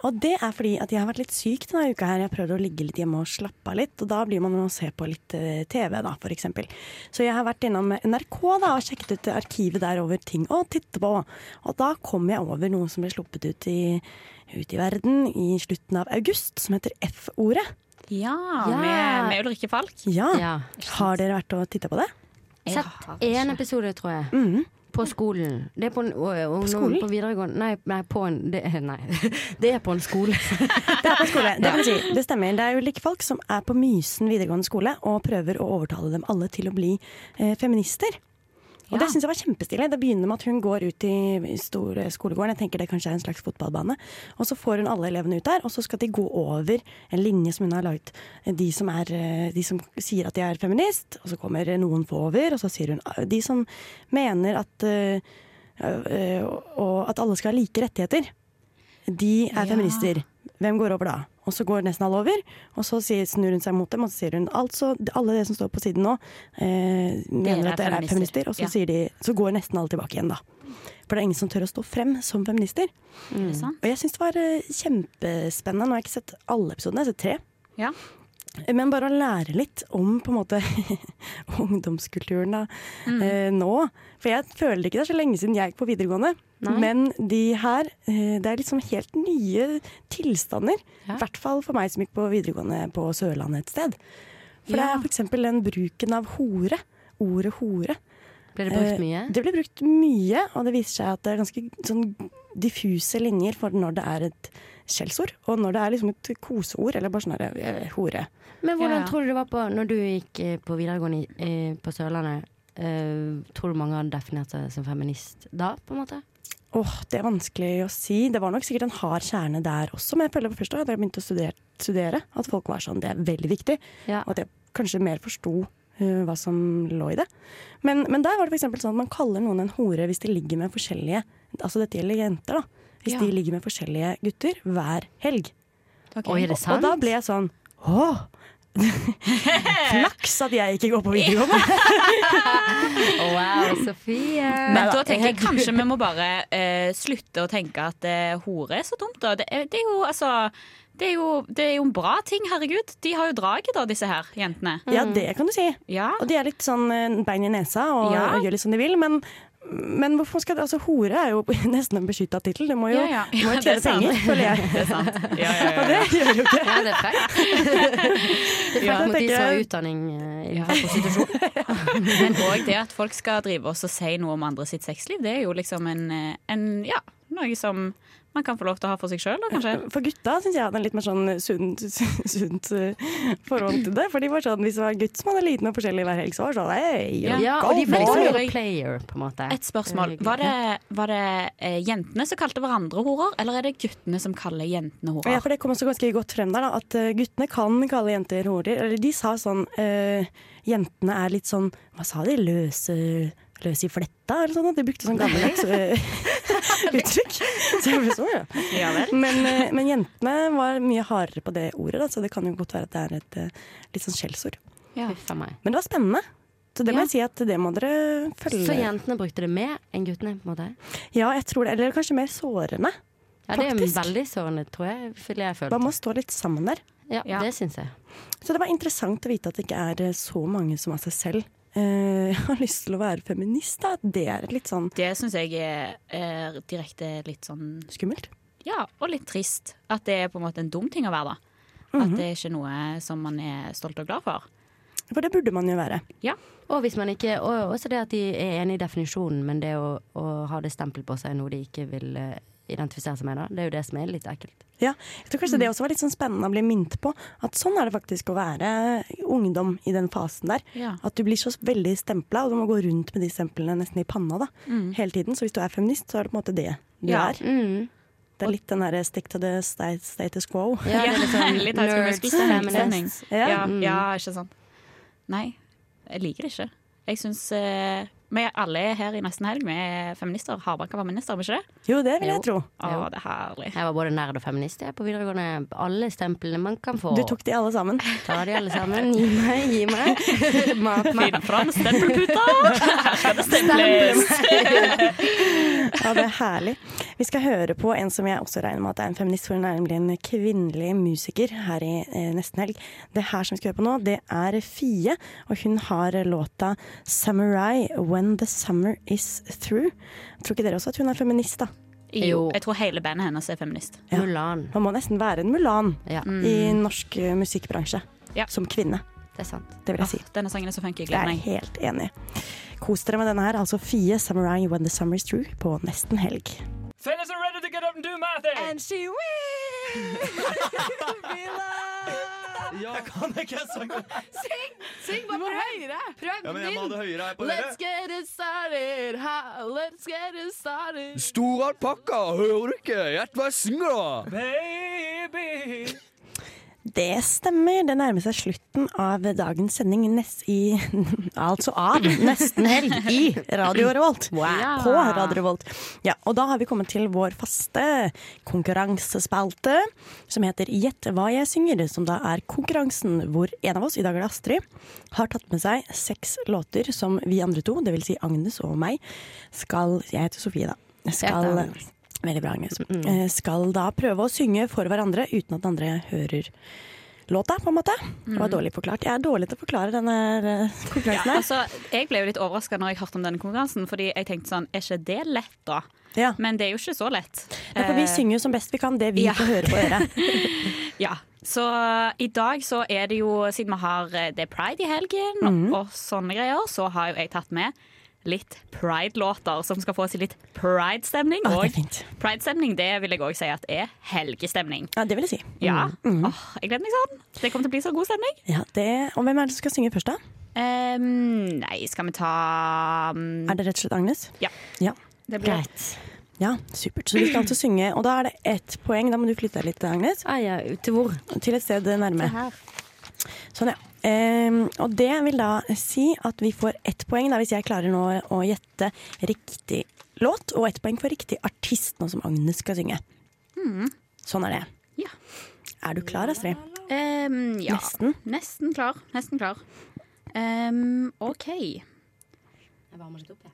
Speaker 1: Og det er fordi at jeg har vært litt syk denne uka her. Jeg har prøvd å ligge litt hjemme og slappe av litt, og da blir man å se på litt eh, TV, da, for eksempel. Så jeg har vært innom NRK da, og sjekket ut arkivet der over ting å titte på. Og da kom jeg over noe som ble sluppet ut i, ut i verden i slutten av august, som heter F-ordet.
Speaker 4: Ja,
Speaker 8: Ja.
Speaker 4: Med, med Ulrikke Falk.
Speaker 1: Ja. Har dere vært og titta på det? Mm.
Speaker 8: Sett én episode, tror jeg. På skolen. Det er på, en, og, og, nå-
Speaker 1: skolen?
Speaker 8: på videregående Nei, nei, på en det, er- nei. det er på en skole.
Speaker 1: Det er på en skole, det kan vi si. Det stemmer. Det er ulike folk som er på Mysen videregående skole og prøver å overtale dem alle til å bli eh, feminister. Og Det synes jeg var kjempestilig. Det begynner med at hun går ut i i store skolegården, jeg tenker det kanskje er en slags fotballbane, og så får hun alle elevene ut der, og så skal de gå over en linje som hun har laget. De som, er, eh, de som sier at de er feminist, og så kommer noen få over, og så sier hun eh, de som mener at, eh, eh, og at alle skal ha like rettigheter. De er feminister. Hvem går over da? Og så går nesten alle over, og så sier, snur hun seg mot dem og så sier hun altså alle dere som står på siden nå, eh, mener
Speaker 4: er
Speaker 1: at dere er
Speaker 4: feminister.
Speaker 1: feminister. Og så,
Speaker 4: Ja.
Speaker 1: sier de, så går nesten alle tilbake igjen, da. For det er ingen som tør å stå frem som feminister.
Speaker 4: Mm. det sant?
Speaker 1: Og jeg syns det var eh, kjempespennende. Nå har jeg ikke sett alle episodene, jeg har sett tre.
Speaker 4: Ja.
Speaker 1: Men bare å lære litt om på en måte ungdomskulturen da,
Speaker 8: Mm.
Speaker 1: eh, nå. For jeg føler ikke det er så lenge siden jeg gikk på videregående.
Speaker 8: Nei.
Speaker 1: Men de her, eh, det er liksom helt nye tilstander. I hvert fall for meg som gikk på videregående på Sørlandet et sted. For det er f.eks. den bruken av hore. Ordet hore.
Speaker 8: Ble det
Speaker 1: Eh,
Speaker 8: brukt mye?
Speaker 1: Det ble brukt mye, og det viser seg at det er ganske sånn diffuse linjer for når det er et skjellsord, og når det er liksom et koseord, eller bare sånn her, eh, hore.
Speaker 8: Men
Speaker 1: Ja,
Speaker 8: hvordan
Speaker 1: ja.
Speaker 8: tror du det var på når du gikk eh, på videregående i- eh, på Sørlandet? eh, tror du mange hadde definert seg som feminist da, på en måte?
Speaker 1: Åh, det er vanskelig å si. Det var nok sikkert en hard kjerne der også, men jeg føler på første da jeg begynte å studere, studere, at folk var sånn, det er veldig viktig, og at jeg kanskje mer forsto eh, hva som lå i det. Men, men der var det for eksempel sånn at man kaller noen en hore hvis de ligger med forskjellige, altså dette gjelder jenter da, hvis
Speaker 8: Ja.
Speaker 1: de ligger med forskjellige gutter hver helg.
Speaker 8: Ok. Oi, er det
Speaker 1: Og- Og da
Speaker 8: sant?
Speaker 1: ble jeg sånn, åh, flaks at jeg ikke går på videregående.
Speaker 8: Wow, Sofie.
Speaker 4: Men da tenker jeg kanskje vi må bare eh, slutte å tenke at eh, hore er så dumt, da. Det er, det er jo altså det er, jo, det er jo en bra ting, herregud. De har jo draget, da, disse her jentene.
Speaker 1: Ja, det kan du si. Og de er litt sånn eh, bein i nesa og,
Speaker 4: Ja.
Speaker 1: og gjør litt som de vil. Men, men hvorfor skal det, altså, hore er jo nesten en beskytta tittel. Det må jo
Speaker 4: Ja, ja.
Speaker 1: du må jo
Speaker 4: Ja, det er
Speaker 1: tjene
Speaker 4: sant.
Speaker 1: penger, føler jeg.
Speaker 4: Det er sant. Ja, ja, ja.
Speaker 1: Og det gjør jo ikke
Speaker 8: Ja, det er frekt. Det er
Speaker 4: Ja.
Speaker 8: frekt mot de
Speaker 4: Tenker
Speaker 8: som har
Speaker 4: jeg-
Speaker 8: utdanning eh,
Speaker 4: Ja.
Speaker 8: innenfor prostitusjon.
Speaker 4: Men òg det at folk skal drive oss og si noe om andre sitt sexliv, det er jo liksom en, eh, en ja, noe som man kan få lov til å ha for seg sjøl, da, kanskje.
Speaker 1: For gutta syns jeg hadde en litt mer sånn sunt, sunt eh, forhold til det. For de var sånn, Hvis det var en gutt som hadde litt med forskjellig hver helg, så var det sånn hey,
Speaker 8: Ja, og de var liksom player, på en måte.
Speaker 4: Et spørsmål. Var det, var det eh, jentene som kalte hverandre horer, eller er det guttene som kaller jentene horer?
Speaker 1: Ja, for det kom også ganske godt frem der, da, at eh, guttene kan kalle jenter horer. Eller de sa sånn eh, Jentene er litt sånn Hva sa de? Løse, løse i fletta, eller sånn? at De brukte sånn gammeldags eh, uttrykk. Så jeg ble sånn, ja.
Speaker 4: Ja vel.
Speaker 1: Men, eh, men jentene var mye hardere på det ordet, da, så det kan jo godt være at det er et eh, litt sånn skjellsord.
Speaker 4: Ja.
Speaker 8: Huff a meg.
Speaker 1: Men det var spennende. Så det
Speaker 8: Ja.
Speaker 1: må jeg si at det må dere følge.
Speaker 8: Så jentene brukte det mer enn guttene, på en måte?
Speaker 1: Ja, jeg tror det. Eller kanskje mer sårende.
Speaker 8: Ja, det er
Speaker 1: Faktisk.
Speaker 8: veldig sårende, tror jeg. Føler jeg følte.
Speaker 1: Man må stå litt sammen der.
Speaker 8: Ja, det syns jeg.
Speaker 1: Så det var interessant å vite at det ikke er eh, så mange som av seg selv eh, har lyst til å være feminist. Da. Det er et litt sånn
Speaker 4: Det syns jeg er, er direkte litt sånn
Speaker 1: Skummelt?
Speaker 4: Ja, og litt trist. At det er på en måte en dum ting å være, da.
Speaker 1: Mhm.
Speaker 4: At det er ikke noe som man er stolt og glad for.
Speaker 1: For det burde man jo være.
Speaker 4: Ja.
Speaker 8: Og hvis man ikke, og også det at de er enig i definisjonen, men det å, å ha det stempel på seg er noe de ikke vil eh, identifisere seg med, da. Det er jo det som er litt ekkelt.
Speaker 1: Ja, jeg tror kanskje
Speaker 4: Mm.
Speaker 1: det også var litt sånn spennende å bli minnet på at sånn er det faktisk å være ungdom i den fasen der.
Speaker 8: Ja.
Speaker 1: At du blir så veldig stempla, og du må gå rundt med de stemplene nesten i panna da,
Speaker 8: Mm.
Speaker 1: hele tiden. Så hvis du er feminist, så er det på en måte det du
Speaker 8: Ja.
Speaker 1: er.
Speaker 4: Mm.
Speaker 1: Det er litt den derre stick to the sta- status quo.
Speaker 4: Ja, det er litt sånn Litt High School Musical stemning. Mm. Ja, ja, ikke sant. Nei, jeg liker det ikke. Jeg syns eh, Vi alle her i Nesten Helg, vi er feminister. Hardbanka feminister, er vi ikke det?
Speaker 1: Jo, det vil jeg tro.
Speaker 4: Å, det er herlig.
Speaker 8: Jeg var både nerd og feminist jeg, på videregående. Alle stemplene man kan få.
Speaker 1: Du tok de alle sammen?
Speaker 8: Ta de alle sammen. Gi meg, gi meg. Mat meg.
Speaker 4: Finn fram stempelputa! Her skal det stemples!
Speaker 1: Ja, det er herlig. Vi skal høre på en som jeg også regner med at er en feminist, for hun er nemlig en kvinnelig musiker her i eh, nesten helg. Det her som vi skal høre på nå, det er Fie, og hun har låta 'Samurai When The Summer Is Through'. Tror ikke dere også at hun er feminist, da?
Speaker 4: Jo, jeg tror hele bandet hennes er feminist.
Speaker 1: Ja. Man må nesten være en Mulan
Speaker 4: Mm.
Speaker 1: i norsk eh, musikkbransje som kvinne.
Speaker 8: Det er sant.
Speaker 1: Det vil jeg si.
Speaker 4: Åh, Denne sangen er så funky.
Speaker 1: Jeg
Speaker 4: Gleder
Speaker 1: er
Speaker 4: meg.
Speaker 1: helt enig. Kos dere med denne her, altså Fie 'Samurai When The Summer Is Through' på nesten helg.
Speaker 12: Fellas are er ready to get up and do my thing. And she wins.
Speaker 15: Jeg kan ikke synge.
Speaker 12: Syng! Syng bare prøv. Høyere. Prøv
Speaker 15: Ja, men jeg må ha det høyere her på dere.
Speaker 12: Let's get it started. Ha, let's get it started.
Speaker 15: Stor alpakka, hører du ikke? Gjett hva jeg synger, da!
Speaker 12: Baby.
Speaker 1: Det stemmer. Det nærmer seg slutten av dagens sending nes i Altså av nesten helg i Radio Revolt.
Speaker 12: Wow.
Speaker 1: På Radio Revolt. Ja, og da har vi kommet til vår faste konkurransespalte som heter Gjett hva jeg synger, som da er konkurransen hvor en av oss, i dag er det Astrid, har tatt med seg seks låter som vi andre to, dvs. Si Agnes og meg, skal Jeg heter Sofie, da. Skal,
Speaker 12: Jeg heter Agnes. Mm.
Speaker 1: Veldig bra, Agnes. Eh, Skal da prøve å synge for hverandre uten at den andre hører låta, på en måte. Det var
Speaker 4: Mhm.
Speaker 1: dårlig forklart. Jeg er dårlig til å forklare denne eh,
Speaker 4: Ja,
Speaker 1: konkurransen her.
Speaker 4: altså, jeg ble jo litt overraska når jeg hørte om denne konkurransen, fordi jeg tenkte sånn, er ikke det lett, da? Men det er jo ikke så lett.
Speaker 1: Ja, for vi
Speaker 4: Eh,
Speaker 1: synger jo som best vi kan det vi
Speaker 4: ja.
Speaker 1: får høre på øret.
Speaker 4: Ja, så i dag så er det jo, siden vi har eh, det er pride i helgen
Speaker 1: Mhm.
Speaker 4: og sånne greier, så har jo jeg tatt med litt pride-låter som skal få oss i litt pride-stemning.
Speaker 1: Å, det er
Speaker 4: Og pride-stemning, det vil jeg òg si at er helgestemning.
Speaker 1: Ja, det vil jeg si.
Speaker 4: Ja.
Speaker 1: Mhm.
Speaker 4: Åh, jeg gleder meg sånn. Det kommer til å bli så god stemning.
Speaker 1: Ja, det, og hvem er det som skal synge først, da?
Speaker 4: Ehm, nei, skal vi ta um,
Speaker 1: Er det rett og slett Agnes?
Speaker 4: Ja.
Speaker 1: Ja,
Speaker 4: Det blir-
Speaker 1: Ja, supert. Så vi skal altså synge, og da er det ett poeng. Da må du flytte deg litt, Agnes.
Speaker 8: Ah, Til hvor?
Speaker 1: Til et sted nærme. Sånn, ja. Ehm, og det vil da si at vi får ett poeng da, hvis jeg klarer nå å gjette riktig låt, og ett poeng for riktig artist, nå som Agnes skal synge.
Speaker 4: Mm.
Speaker 1: Sånn er det.
Speaker 4: Ja.
Speaker 1: Er du klar, Astrid?
Speaker 4: Ehm, ja.
Speaker 1: Nesten.
Speaker 4: Nesten klar. Nesten klar. Ehm, OK. Jeg
Speaker 8: varmer litt opp, jeg.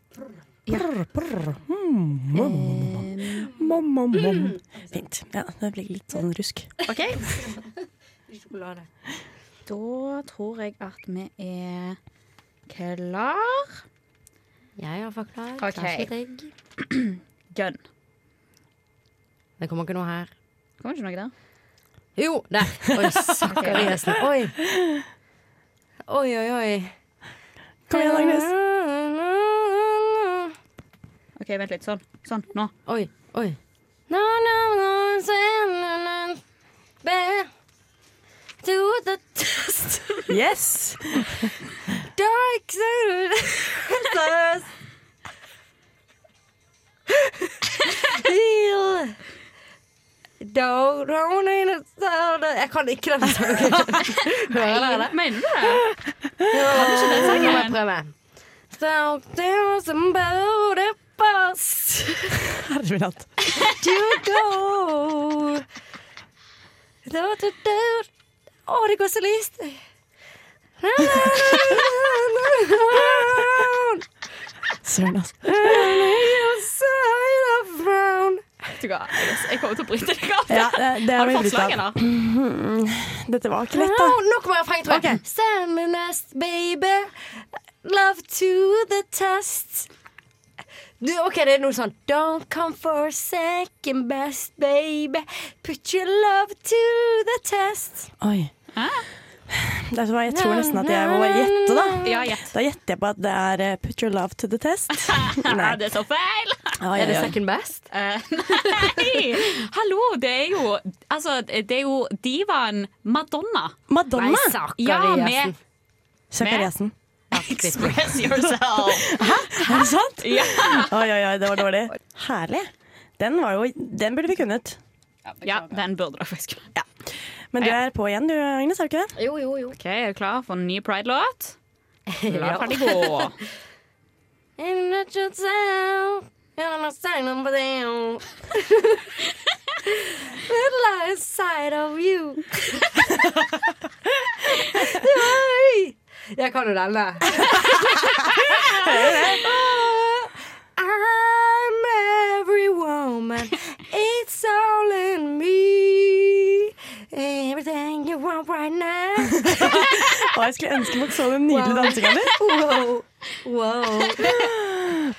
Speaker 1: Prr, prr. Mm, mom, mom, mom, mom, mom. Fint. Ja, det blir litt sånn rusk.
Speaker 4: OK. Da tror jeg at vi er klar.
Speaker 8: Jeg er forklart.
Speaker 4: Ok. Gun.
Speaker 8: Det kommer ikke noe her.
Speaker 4: Kommer ikke noe der?
Speaker 8: Jo, der! Oi, Sakariassen. Oi. Oi, oi, oi.
Speaker 1: Kom igjen,
Speaker 8: Agnes.
Speaker 4: OK, vent litt. Sånn. Sånn. Nå.
Speaker 8: Oi. Oi. No, no, no, say, no, no. Bear to the test.
Speaker 1: Yes!
Speaker 8: Dark side. Feel. Don't run in a sound. Jeg kan ikke den sangen. Hører dere det?
Speaker 4: Mener du det? Kan du ikke den
Speaker 8: Nå må
Speaker 4: sangen?
Speaker 8: jeg prøve. So there was somebody bus
Speaker 1: Herregud.
Speaker 8: to go. Da, da, da. Å, det går så lyst.
Speaker 1: Søren, altså.
Speaker 8: Outside of brown.
Speaker 4: Du du hva, Agnes, jeg kommer til å bryte deg av
Speaker 1: Ja, det, det
Speaker 4: Har du
Speaker 1: vi brytt
Speaker 4: fått
Speaker 1: av.
Speaker 4: slangen, da?
Speaker 1: Mm, Dette var ikke lett, da.
Speaker 10: No, nok med refreng, tror jeg. Stand me nest, baby. Love to the test. Du, OK, det er noe sånn Don't come for second best, baby. Put your love to the test.
Speaker 1: Oi. Det er så, jeg tror nesten at jeg må bare gjette, da.
Speaker 4: Ja, gjett.
Speaker 1: Da gjetter jeg på at det er eh, 'Put your love to the test'.
Speaker 4: Nei. Det er så feil!
Speaker 1: Oi,
Speaker 10: Er det
Speaker 1: oi, oi.
Speaker 10: second best?
Speaker 4: Eh, nei! Hallo, det er jo Altså, det er jo divaen Madonna.
Speaker 1: Madonna?
Speaker 10: Nei, sakker i
Speaker 4: ja,
Speaker 10: gjesten.
Speaker 4: med
Speaker 1: Sakariassen.
Speaker 4: Express Yourself.
Speaker 1: Er det sant?
Speaker 4: Ja.
Speaker 1: Oi, oi, oi, det var dårlig. Herlig. Den, var jo, den burde vi kunnet.
Speaker 4: Ja, den burde dere faktisk
Speaker 1: Ja. Men du er på igjen du, Agnes, er du ikke det?
Speaker 10: Jo, jo, jo.
Speaker 4: OK, er du klar for en ny Pride-låt? La
Speaker 10: Ja.
Speaker 4: ferdig gå.
Speaker 10: And let yourself, you're not standing over there. The light side of you. Oi! Jeg kan jo denne. Oh, I'm every woman. It's all in me. Everything you want right now.
Speaker 1: Å, jeg skulle ønske folk så den nydelige dansinga di.
Speaker 10: Wow. Wow.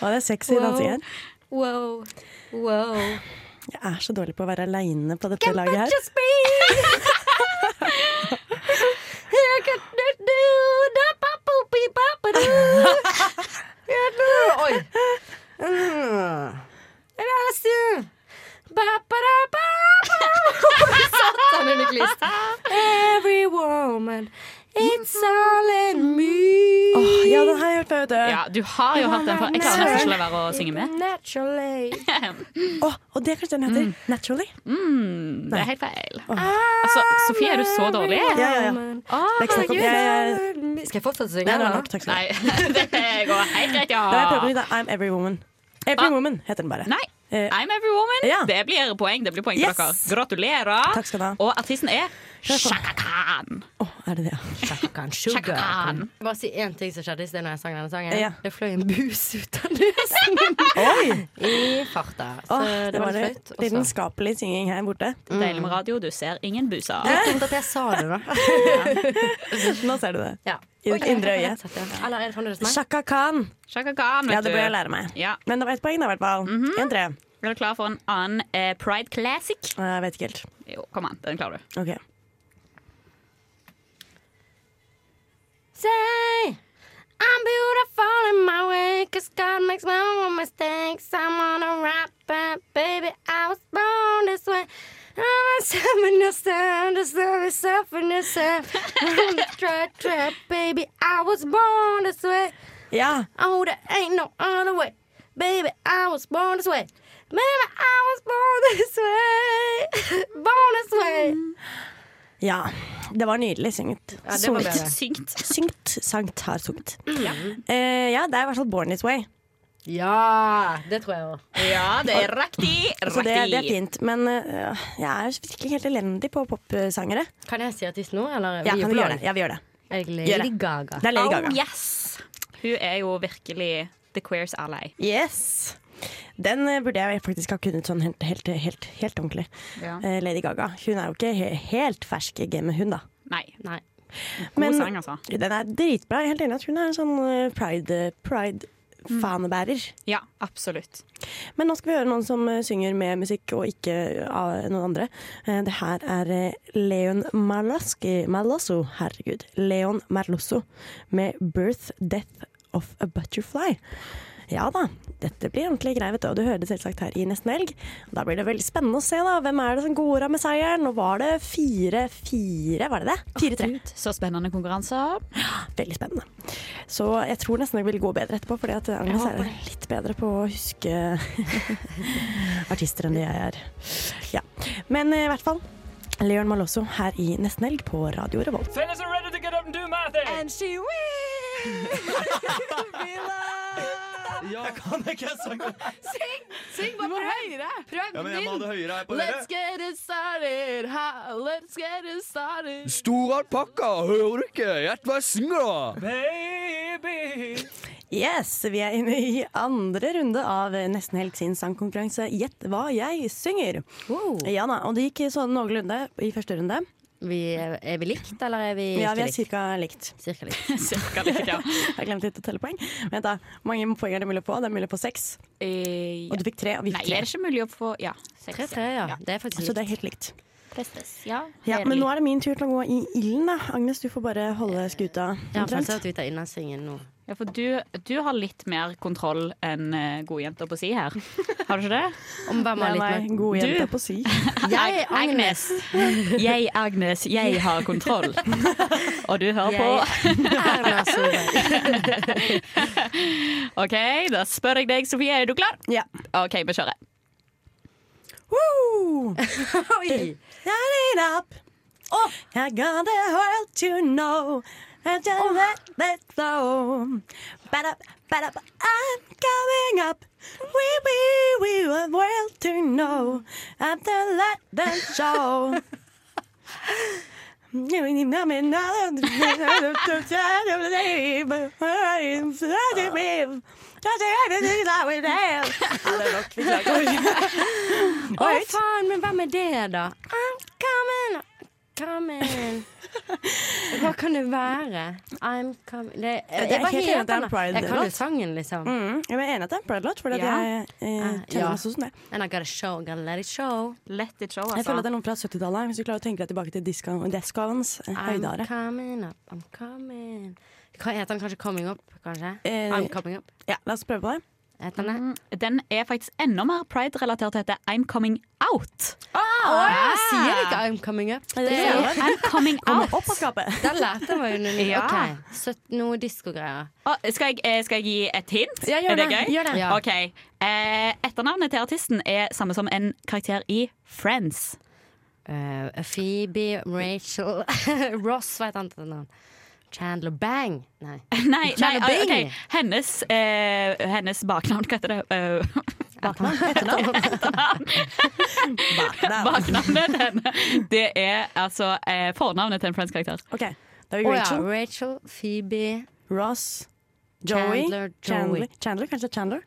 Speaker 1: Å, det er sexy dansing her.
Speaker 10: Wow. Wow.
Speaker 1: Jeg er så dårlig på å være aleine på dette laget her.
Speaker 10: Just be. Here I can do do da pa po pi pa pa do. Ja, do. Oi. Mm. Er det stu? Ba ba da ba ba. Satan under glist. Every woman, it's all in me.
Speaker 1: Åh, ja, den har jeg hørt før, vet du.
Speaker 4: Ja, du har jo hatt den før. Jeg klarer nesten ikke å la være å synge med.
Speaker 10: Naturally.
Speaker 1: Åh, og det er kanskje den heter. 'Naturally'.
Speaker 4: Mm, det er helt feil. Altså, Sofie, er du så dårlig?
Speaker 1: Ja, ja, ja. Det er ikke snakk om jeg,
Speaker 10: Ah, Skal jeg fortsette å synge?
Speaker 1: Nei, det var
Speaker 10: eller?
Speaker 1: nok. Takk skal du ha.
Speaker 4: Nei, det går helt greit, ja.
Speaker 1: Da har jeg prøvd på nytt, da.
Speaker 10: Ah.
Speaker 1: 'I'm Every Woman'. Every Woman heter den bare.
Speaker 4: Nei.
Speaker 1: Eh,
Speaker 4: I'm every woman.
Speaker 1: Ja.
Speaker 4: Det blir poeng det blir poeng
Speaker 1: Yes.
Speaker 4: for dere. Gratulerer.
Speaker 1: Takk skal du ha.
Speaker 4: Og artisten er
Speaker 1: Kjør på.
Speaker 4: Shaka Khan.
Speaker 1: er det det? ja?
Speaker 4: Shaka Khan.
Speaker 10: Jeg må bare si én ting som skjedde i sted når jeg sang denne sangen.
Speaker 1: Ja.
Speaker 10: Det fløy en bus ut av nesen min
Speaker 1: Oi!
Speaker 10: i farta. Så
Speaker 1: Åh,
Speaker 10: det,
Speaker 1: det var
Speaker 10: var
Speaker 1: det
Speaker 10: litt flaut. og så-
Speaker 1: lidenskapelig synging her borte.
Speaker 4: Deilig med radio, du ser ingen buser.
Speaker 10: Jeg tenkte at jeg sa det, da.
Speaker 1: Nå ser du det.
Speaker 10: Ja.
Speaker 1: I ditt
Speaker 10: Oi,
Speaker 1: indre øye.
Speaker 10: rett sett, ja. Eller er det fremdeles meg?
Speaker 1: Shaka Khan.
Speaker 4: Shaka Khan, vet
Speaker 1: Ja, det bør jeg
Speaker 4: du.
Speaker 1: lære meg.
Speaker 4: Ja. Mhm.
Speaker 1: Men det var ett poeng, da, i hvert fall. En tre.
Speaker 4: Er du klar for en annen eh, Pride Classic?
Speaker 1: Jeg vet ikke helt.
Speaker 4: Jo, kom an, den klarer du.
Speaker 1: Ok.
Speaker 10: Say I'm beautiful in my way, cause God makes no mistakes. I'm on a rapper, baby. I was born this way. I'm a seven yourself, deserve yourself and yourself. I'm a trap, trap, baby. I was born this way.
Speaker 1: Ja.
Speaker 10: Oh, there ain't no other way. Baby, I was born this way. Baby, I was born this way. born this way.
Speaker 1: ja. Det var nydelig synget.
Speaker 10: var
Speaker 1: Sunget.
Speaker 10: bedre.
Speaker 4: Syngt. Mm.
Speaker 1: Syngt, sangt, har sunget.
Speaker 4: Ja.
Speaker 1: Eh, ja, det er i hvert fall 'Born This Way'.
Speaker 10: Ja, det tror jeg òg.
Speaker 4: ja, det er riktig.
Speaker 1: Så det, det er
Speaker 4: Riktig.
Speaker 1: fint. Men eh, jeg er jo virkelig helt elendig på popsangere.
Speaker 10: Kan jeg si artist nå, eller?
Speaker 1: Ja,
Speaker 10: vi
Speaker 1: kan du gjøre det? Ja, vi gjør det.
Speaker 10: Jeg er
Speaker 1: Gjør
Speaker 10: Lady
Speaker 1: det.
Speaker 10: Gaga.
Speaker 1: Det er Lady
Speaker 4: Oh
Speaker 1: Gaga.
Speaker 4: yes! Hun er jo virkelig the queers ally.
Speaker 1: Yes. Den eh, burde jeg faktisk ha kunnet sånn helt, helt, helt, helt ordentlig.
Speaker 4: Ja.
Speaker 1: Eh, Lady Gaga. Hun er jo ikke he helt fersk i gamet, hun da.
Speaker 4: Nei.
Speaker 10: Nei.
Speaker 4: God
Speaker 1: Men-
Speaker 4: sang, altså.
Speaker 1: Den er dritbra. Jeg er helt enig i at hun er en sånn eh, pride, pride fanebærer.
Speaker 4: Mm. Ja, absolutt.
Speaker 1: Men nå skal vi høre noen som eh, synger med musikk og ikke av noen andre. Eh, Det her er eh, Leon Marlaski Marlosso, herregud. Leon Marlosso med 'Birth Death of a Butterfly'. Ja da, dette blir ordentlig grei, vet du. Og du hører det selvsagt her i Nesten Helg. Da blir det veldig spennende å se, da. Hvem er det som går av med seieren? Nå var det fire-fire, var det det? Fire-tre.
Speaker 4: Gud, Så spennende konkurranser.
Speaker 1: Veldig spennende. Så jeg tror nesten det vil gå bedre etterpå, fordi at Agnes er litt bedre på å huske artister enn det jeg er. Ja. Men eh, i hvert fall. Leon Malosso her i Nesten Helg på Radio Revolt.
Speaker 22: Fellas are ready to get up and do my thing.
Speaker 12: And she will be loved.
Speaker 15: Jeg kan ikke sange.
Speaker 12: Syng bare høyere. Prøv
Speaker 15: Ja, men jeg må ha det høyere her på dere.
Speaker 12: get it started. Ha, let's get it started.
Speaker 15: Stor alpakka, hører du ikke? Gjett hva jeg synger, da!
Speaker 22: Baby.
Speaker 1: Yes, vi er inne i andre runde av Nesten Helg sin sangkonkurranse Gjett hva jeg synger.
Speaker 8: Oh.
Speaker 1: Ja da, og det gikk sånn noenlunde i første runde.
Speaker 8: er, er vi likt, eller er vi
Speaker 1: Ja, vi
Speaker 8: ikke
Speaker 1: er
Speaker 8: likt?
Speaker 1: cirka likt.
Speaker 8: Cirka likt.
Speaker 4: Cirka likt, ja.
Speaker 1: jeg glemte litt å telle poeng. Vent da, Hvor mange poeng er det mulig å få? Det er mulig å få seks. Og du fikk tre, og vi
Speaker 4: Eh, Nei,
Speaker 1: fikk tre.
Speaker 4: er det ikke mulig å få Ja. seks,
Speaker 8: Tre, tre, ja. Det er faktisk
Speaker 1: Så Altså, det
Speaker 8: likt.
Speaker 1: er helt likt.
Speaker 4: Prestes. Ja.
Speaker 1: Ja,
Speaker 4: Hederlig.
Speaker 1: men nå er det min tur til å gå i ilden, da. Agnes, du får bare holde skuta.
Speaker 8: Jeg har
Speaker 1: omtrent.
Speaker 8: følelsen av at vi tar innlandsingen nå.
Speaker 4: Ja, for du, du har litt mer kontroll enn eh, godjenta på si her. Har du ikke det?
Speaker 8: Om hvem har litt mer- Du.
Speaker 1: på si.
Speaker 8: Jeg, Agnes.
Speaker 4: Jeg, Agnes, jeg har kontroll. Og du hører på.
Speaker 8: Erna
Speaker 4: OK, da spør jeg deg, Sofie, er du klar?
Speaker 1: Ja.
Speaker 4: OK, vi kjører.
Speaker 1: Woo! Light it up. I got the world to know. I just let that flow. But up, but up, I'm coming up. We, we, we, the world to know. I'm the let that show. Oh,
Speaker 8: Å, faen, men hvem er det, da? I'm coming, coming. Hva kan det være? I'm coming det, jeg,
Speaker 1: Det er
Speaker 8: var
Speaker 1: helt enig at det er en
Speaker 8: enig.
Speaker 1: pride
Speaker 8: Jeg kan jo
Speaker 1: låt.
Speaker 8: sangen, liksom.
Speaker 1: Mm, jeg er enig at det er en pride-låt, fordi at
Speaker 8: Ja.
Speaker 1: jeg eh,
Speaker 8: Ah,
Speaker 1: kjenner
Speaker 8: ja.
Speaker 1: meg sånn som det.
Speaker 8: And I gotta show, gotta let it show.
Speaker 4: Let it show,
Speaker 1: Jeg føler at det er noen fra 70-tallet. Hvis du klarer å tenke deg tilbake til disco- discoens eh,
Speaker 8: I'm
Speaker 1: høydare.
Speaker 8: coming up, I'm coming Hva heter den kanskje? Coming up, kanskje?
Speaker 1: Eh,
Speaker 8: I'm coming up. Eh,
Speaker 1: Ja, la oss prøve på det.
Speaker 4: Mm, Den er faktisk enda mer pride-relatert til dette I'm coming out.
Speaker 8: Ah, jeg sier ikke I'm coming up.
Speaker 4: Det er jo I'm coming out.
Speaker 1: Opp av skapet.
Speaker 8: Den lærte jeg meg under
Speaker 4: Ja.
Speaker 8: OK, så noe diskogreier.
Speaker 4: Ah, skal, jeg, eh, skal jeg gi et hint?
Speaker 8: Ja, gjør
Speaker 4: er det,
Speaker 8: det,
Speaker 4: gøy?
Speaker 8: gjør det. Ja.
Speaker 4: Ok. Eh, etternavnet til artisten er samme som en karakter i Friends.
Speaker 8: Eh, Phoebe, Rachel, Ross, hva heter han til navn? Chandler Bang. Nei.
Speaker 4: Nei, nei
Speaker 8: Chandler
Speaker 4: ah,
Speaker 8: Bing.
Speaker 4: ok. hennes, eh, hennes baknavn, hva heter det? Eh,
Speaker 8: Baknavn?
Speaker 4: Baknavnet til henne. Det er altså eh, fornavnet til en Friends-karakter.
Speaker 1: Ok, da er
Speaker 8: Å
Speaker 1: vi
Speaker 8: Oh ja,
Speaker 1: Rachel,
Speaker 8: Rachel, Phoebe
Speaker 1: Ross, Joey
Speaker 8: Chandler, Joey.
Speaker 1: Chandler, Chandler, kanskje Chandler?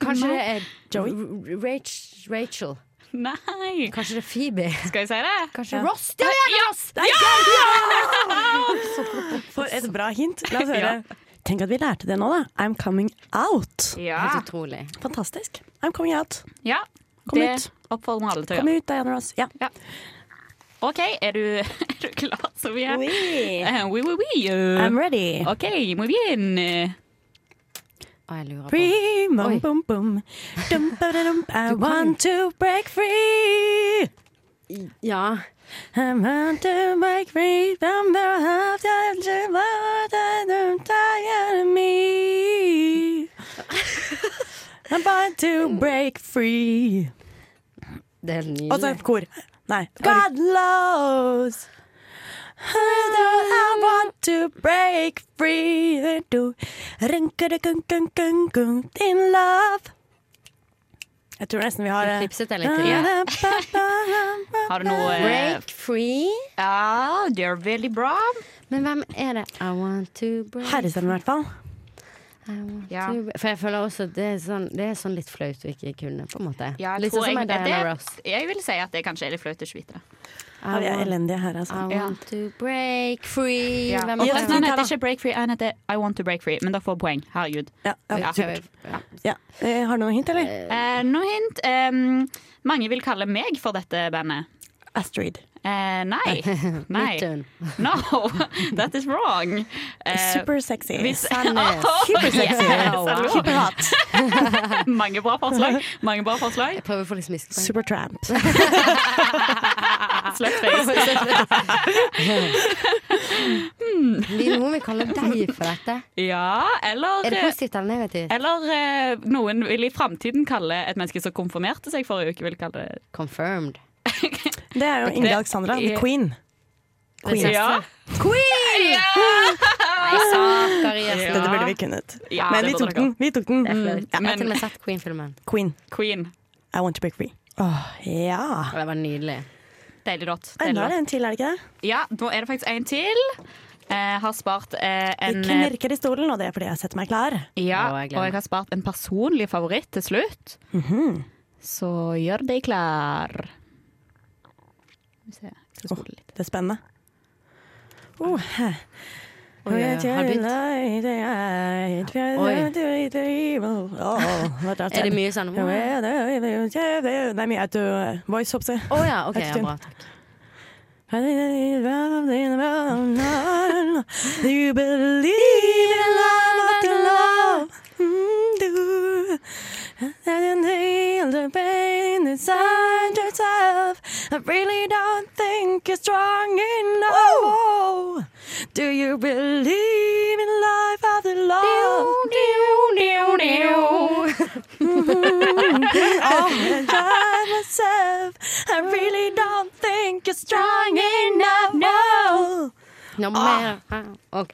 Speaker 8: Kanskje det er
Speaker 1: Joey?
Speaker 8: R- Rach Rachel.
Speaker 4: Nei.
Speaker 8: Kanskje det er Phoebe.
Speaker 4: Skal jeg si det?
Speaker 8: Kanskje
Speaker 4: Ja.
Speaker 8: Ross. Det er det, Ross!
Speaker 1: Ja! For et bra hint. La oss høre. Tenk at vi lærte det nå, da. I'm coming out.
Speaker 8: Helt utrolig.
Speaker 1: Fantastisk. I'm coming out.
Speaker 4: Ja,
Speaker 1: Kom
Speaker 4: det
Speaker 1: ut.
Speaker 4: oppfordrer alle til å
Speaker 1: Kom
Speaker 4: gjøre.
Speaker 1: ut, Diana Ross. Ja.
Speaker 4: OK, er du, er du klar, Sofie?
Speaker 1: Oui.
Speaker 4: Eh, oui, oui, oui. Eh,
Speaker 1: I'm ready.
Speaker 4: OK, muy bien.
Speaker 8: Å, jeg lurer på
Speaker 1: Free,
Speaker 8: Oi.
Speaker 1: mom, boom, boom. Dum, ba, da, dum, I want to break free.
Speaker 8: Ja.
Speaker 1: I want to break free from the heart that you love that I'm tired of me. I want to break free.
Speaker 8: Det er helt
Speaker 1: Og så et
Speaker 8: nydelig.
Speaker 1: kor. Nei. God loves. I want to break free do. Rinkedekunk-kunk-kunk-kunk in love. Jeg tror nesten vi har
Speaker 8: Jeg
Speaker 1: eh,
Speaker 8: klipset den litt til.
Speaker 4: Har du noe eh,
Speaker 8: Break free.
Speaker 4: Ja, det er veldig bra.
Speaker 8: Men hvem er det? I want to break
Speaker 1: Herrestemmen, i hvert fall.
Speaker 8: I want
Speaker 4: Ja.
Speaker 8: to break- For jeg føler også at det er sånn, det er sånn litt flaut å ikke kunne, på en måte.
Speaker 4: Ja, jeg
Speaker 8: litt
Speaker 4: tror
Speaker 8: sånn som med
Speaker 4: egentlig-
Speaker 8: Diana
Speaker 4: det-
Speaker 8: Ross.
Speaker 4: Jeg vil si at det kanskje er litt flaut å ikke vite det.
Speaker 1: Ja, vi er
Speaker 8: want-
Speaker 1: elendige her, altså.
Speaker 8: I want to break free.
Speaker 4: Ja.
Speaker 8: Hvem
Speaker 4: Og
Speaker 8: er
Speaker 4: forresten,
Speaker 8: det?
Speaker 4: han heter ikke Break Free, han heter I Want To Break Free, men da får poeng. Herregud.
Speaker 1: Ja, ja,
Speaker 4: Ja.
Speaker 1: supert. Ja. Eh, Har du noe hint, eller?
Speaker 4: Eh, noe hint. em, mange vil kalle meg for dette bandet.
Speaker 1: Astrid.
Speaker 4: Eh, nei.
Speaker 8: Mitt
Speaker 4: nei.
Speaker 8: turn.
Speaker 4: No, that is wrong. Eh,
Speaker 1: Super sexy.
Speaker 4: hvis-
Speaker 8: Sandnes.
Speaker 4: Oh,
Speaker 8: Supersexy.
Speaker 4: yes,
Speaker 8: Wow.
Speaker 4: hello. mange bra forslag. Mange bra forslag.
Speaker 8: Jeg prøver å få litt smiskepoeng.
Speaker 1: Supertramp.
Speaker 4: Slutface.
Speaker 1: Hmm.
Speaker 8: Det er noen vil kalle deg for dette.
Speaker 4: Ja, eller eh,
Speaker 8: Er det positivt eller negativt?
Speaker 4: Eller eh, noen vil i framtiden kalle et menneske som konfirmerte seg forrige uke, vil kalle det
Speaker 8: Confirmed.
Speaker 1: Det er jo Ingrid Alexandra, the queen. Queen.
Speaker 4: Ja.
Speaker 8: Queen! Saker i
Speaker 4: Ja.
Speaker 1: Dette burde vi kunnet.
Speaker 4: Ja,
Speaker 1: Men vi
Speaker 4: det burde
Speaker 1: tok
Speaker 4: dere.
Speaker 1: den. Vi tok den. Hmm.
Speaker 8: Jeg
Speaker 1: Ja,
Speaker 8: har til og med sett Queen-filmen.
Speaker 1: Queen.
Speaker 4: Queen.
Speaker 1: I want to break free. Åh, ja.
Speaker 8: Og Det var nydelig.
Speaker 4: Deilig rått.
Speaker 1: Enda er
Speaker 4: Deilig
Speaker 1: det
Speaker 4: rått.
Speaker 1: en til, er det ikke det?
Speaker 4: Ja, nå er det faktisk en til. eh, har spart eh, en
Speaker 1: Jeg knirker i stolen, og det er fordi jeg setter meg klar.
Speaker 4: Ja,
Speaker 1: Å,
Speaker 4: og
Speaker 1: jeg
Speaker 4: jeg,
Speaker 1: gleder
Speaker 4: har spart en personlig favoritt til slutt.
Speaker 1: Mm-hmm.
Speaker 4: Så gjør deg klar. Skal vi se, skal jeg spole litt.
Speaker 1: Det er spennende. Oh.
Speaker 4: Oi, oi, oi, har det
Speaker 8: Er det mye sånn?
Speaker 1: Det er mye at du eh, voice opp til.
Speaker 8: Å ja, OK. Ja, bra.
Speaker 1: Do you believe in love after love? Mm, do. And you need the pain inside yourself. I really don't think you're strong enough. Do you believe in life after love? Mm-hmm. I tried myself. I really don't think you're strong enough. No.
Speaker 8: Nå må jeg- ah, ok.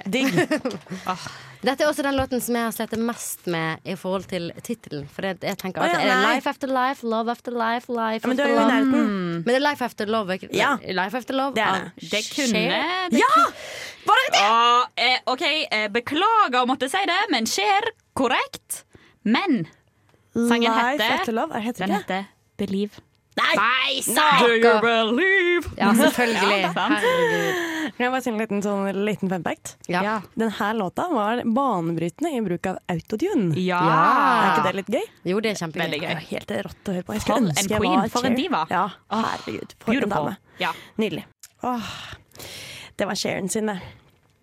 Speaker 4: Ah.
Speaker 8: Dette er også den låten som jeg har slettet mest med i forhold til tittelen. For det, jeg tenker
Speaker 1: Å,
Speaker 8: at
Speaker 1: ja,
Speaker 8: er det
Speaker 1: nei.
Speaker 8: Life After Life, Love After Life, Life
Speaker 1: Ja, men du er
Speaker 8: After
Speaker 1: jo i
Speaker 8: Love.
Speaker 1: nærheten.
Speaker 8: Men det er Life After Love. Ikke?
Speaker 4: Ja.
Speaker 8: Life After Love
Speaker 4: Det er
Speaker 8: av
Speaker 4: det. Det
Speaker 8: Cher.
Speaker 4: kunne-
Speaker 8: Ja!
Speaker 4: Ja, eh, OK, eh, beklager å måtte si det, men skjer korrekt. Men sangen
Speaker 1: Life
Speaker 4: heter
Speaker 1: After Love? Er- heter
Speaker 4: Den
Speaker 1: det?
Speaker 4: heter Believe.
Speaker 1: Nei! er
Speaker 4: Do you believe?
Speaker 8: Ja, selvfølgelig.
Speaker 4: Ja, sant.
Speaker 1: Kan jeg bare si en liten, sånn, liten fun fact? Denne låta var banebrytende i bruk av autotune.
Speaker 8: Ja.
Speaker 1: Er ikke det litt gøy?
Speaker 8: Jo, det er kjempegøy.
Speaker 1: Det er helt rått å høre på. Jeg
Speaker 8: For
Speaker 1: skulle
Speaker 8: en
Speaker 1: ønske jeg
Speaker 8: queen,
Speaker 1: var
Speaker 8: for en
Speaker 1: Cher.
Speaker 8: diva.
Speaker 1: Ja, herregud, for en
Speaker 8: beautiful.
Speaker 1: dame. Nydelig. Åh, det var Sharon sin, det.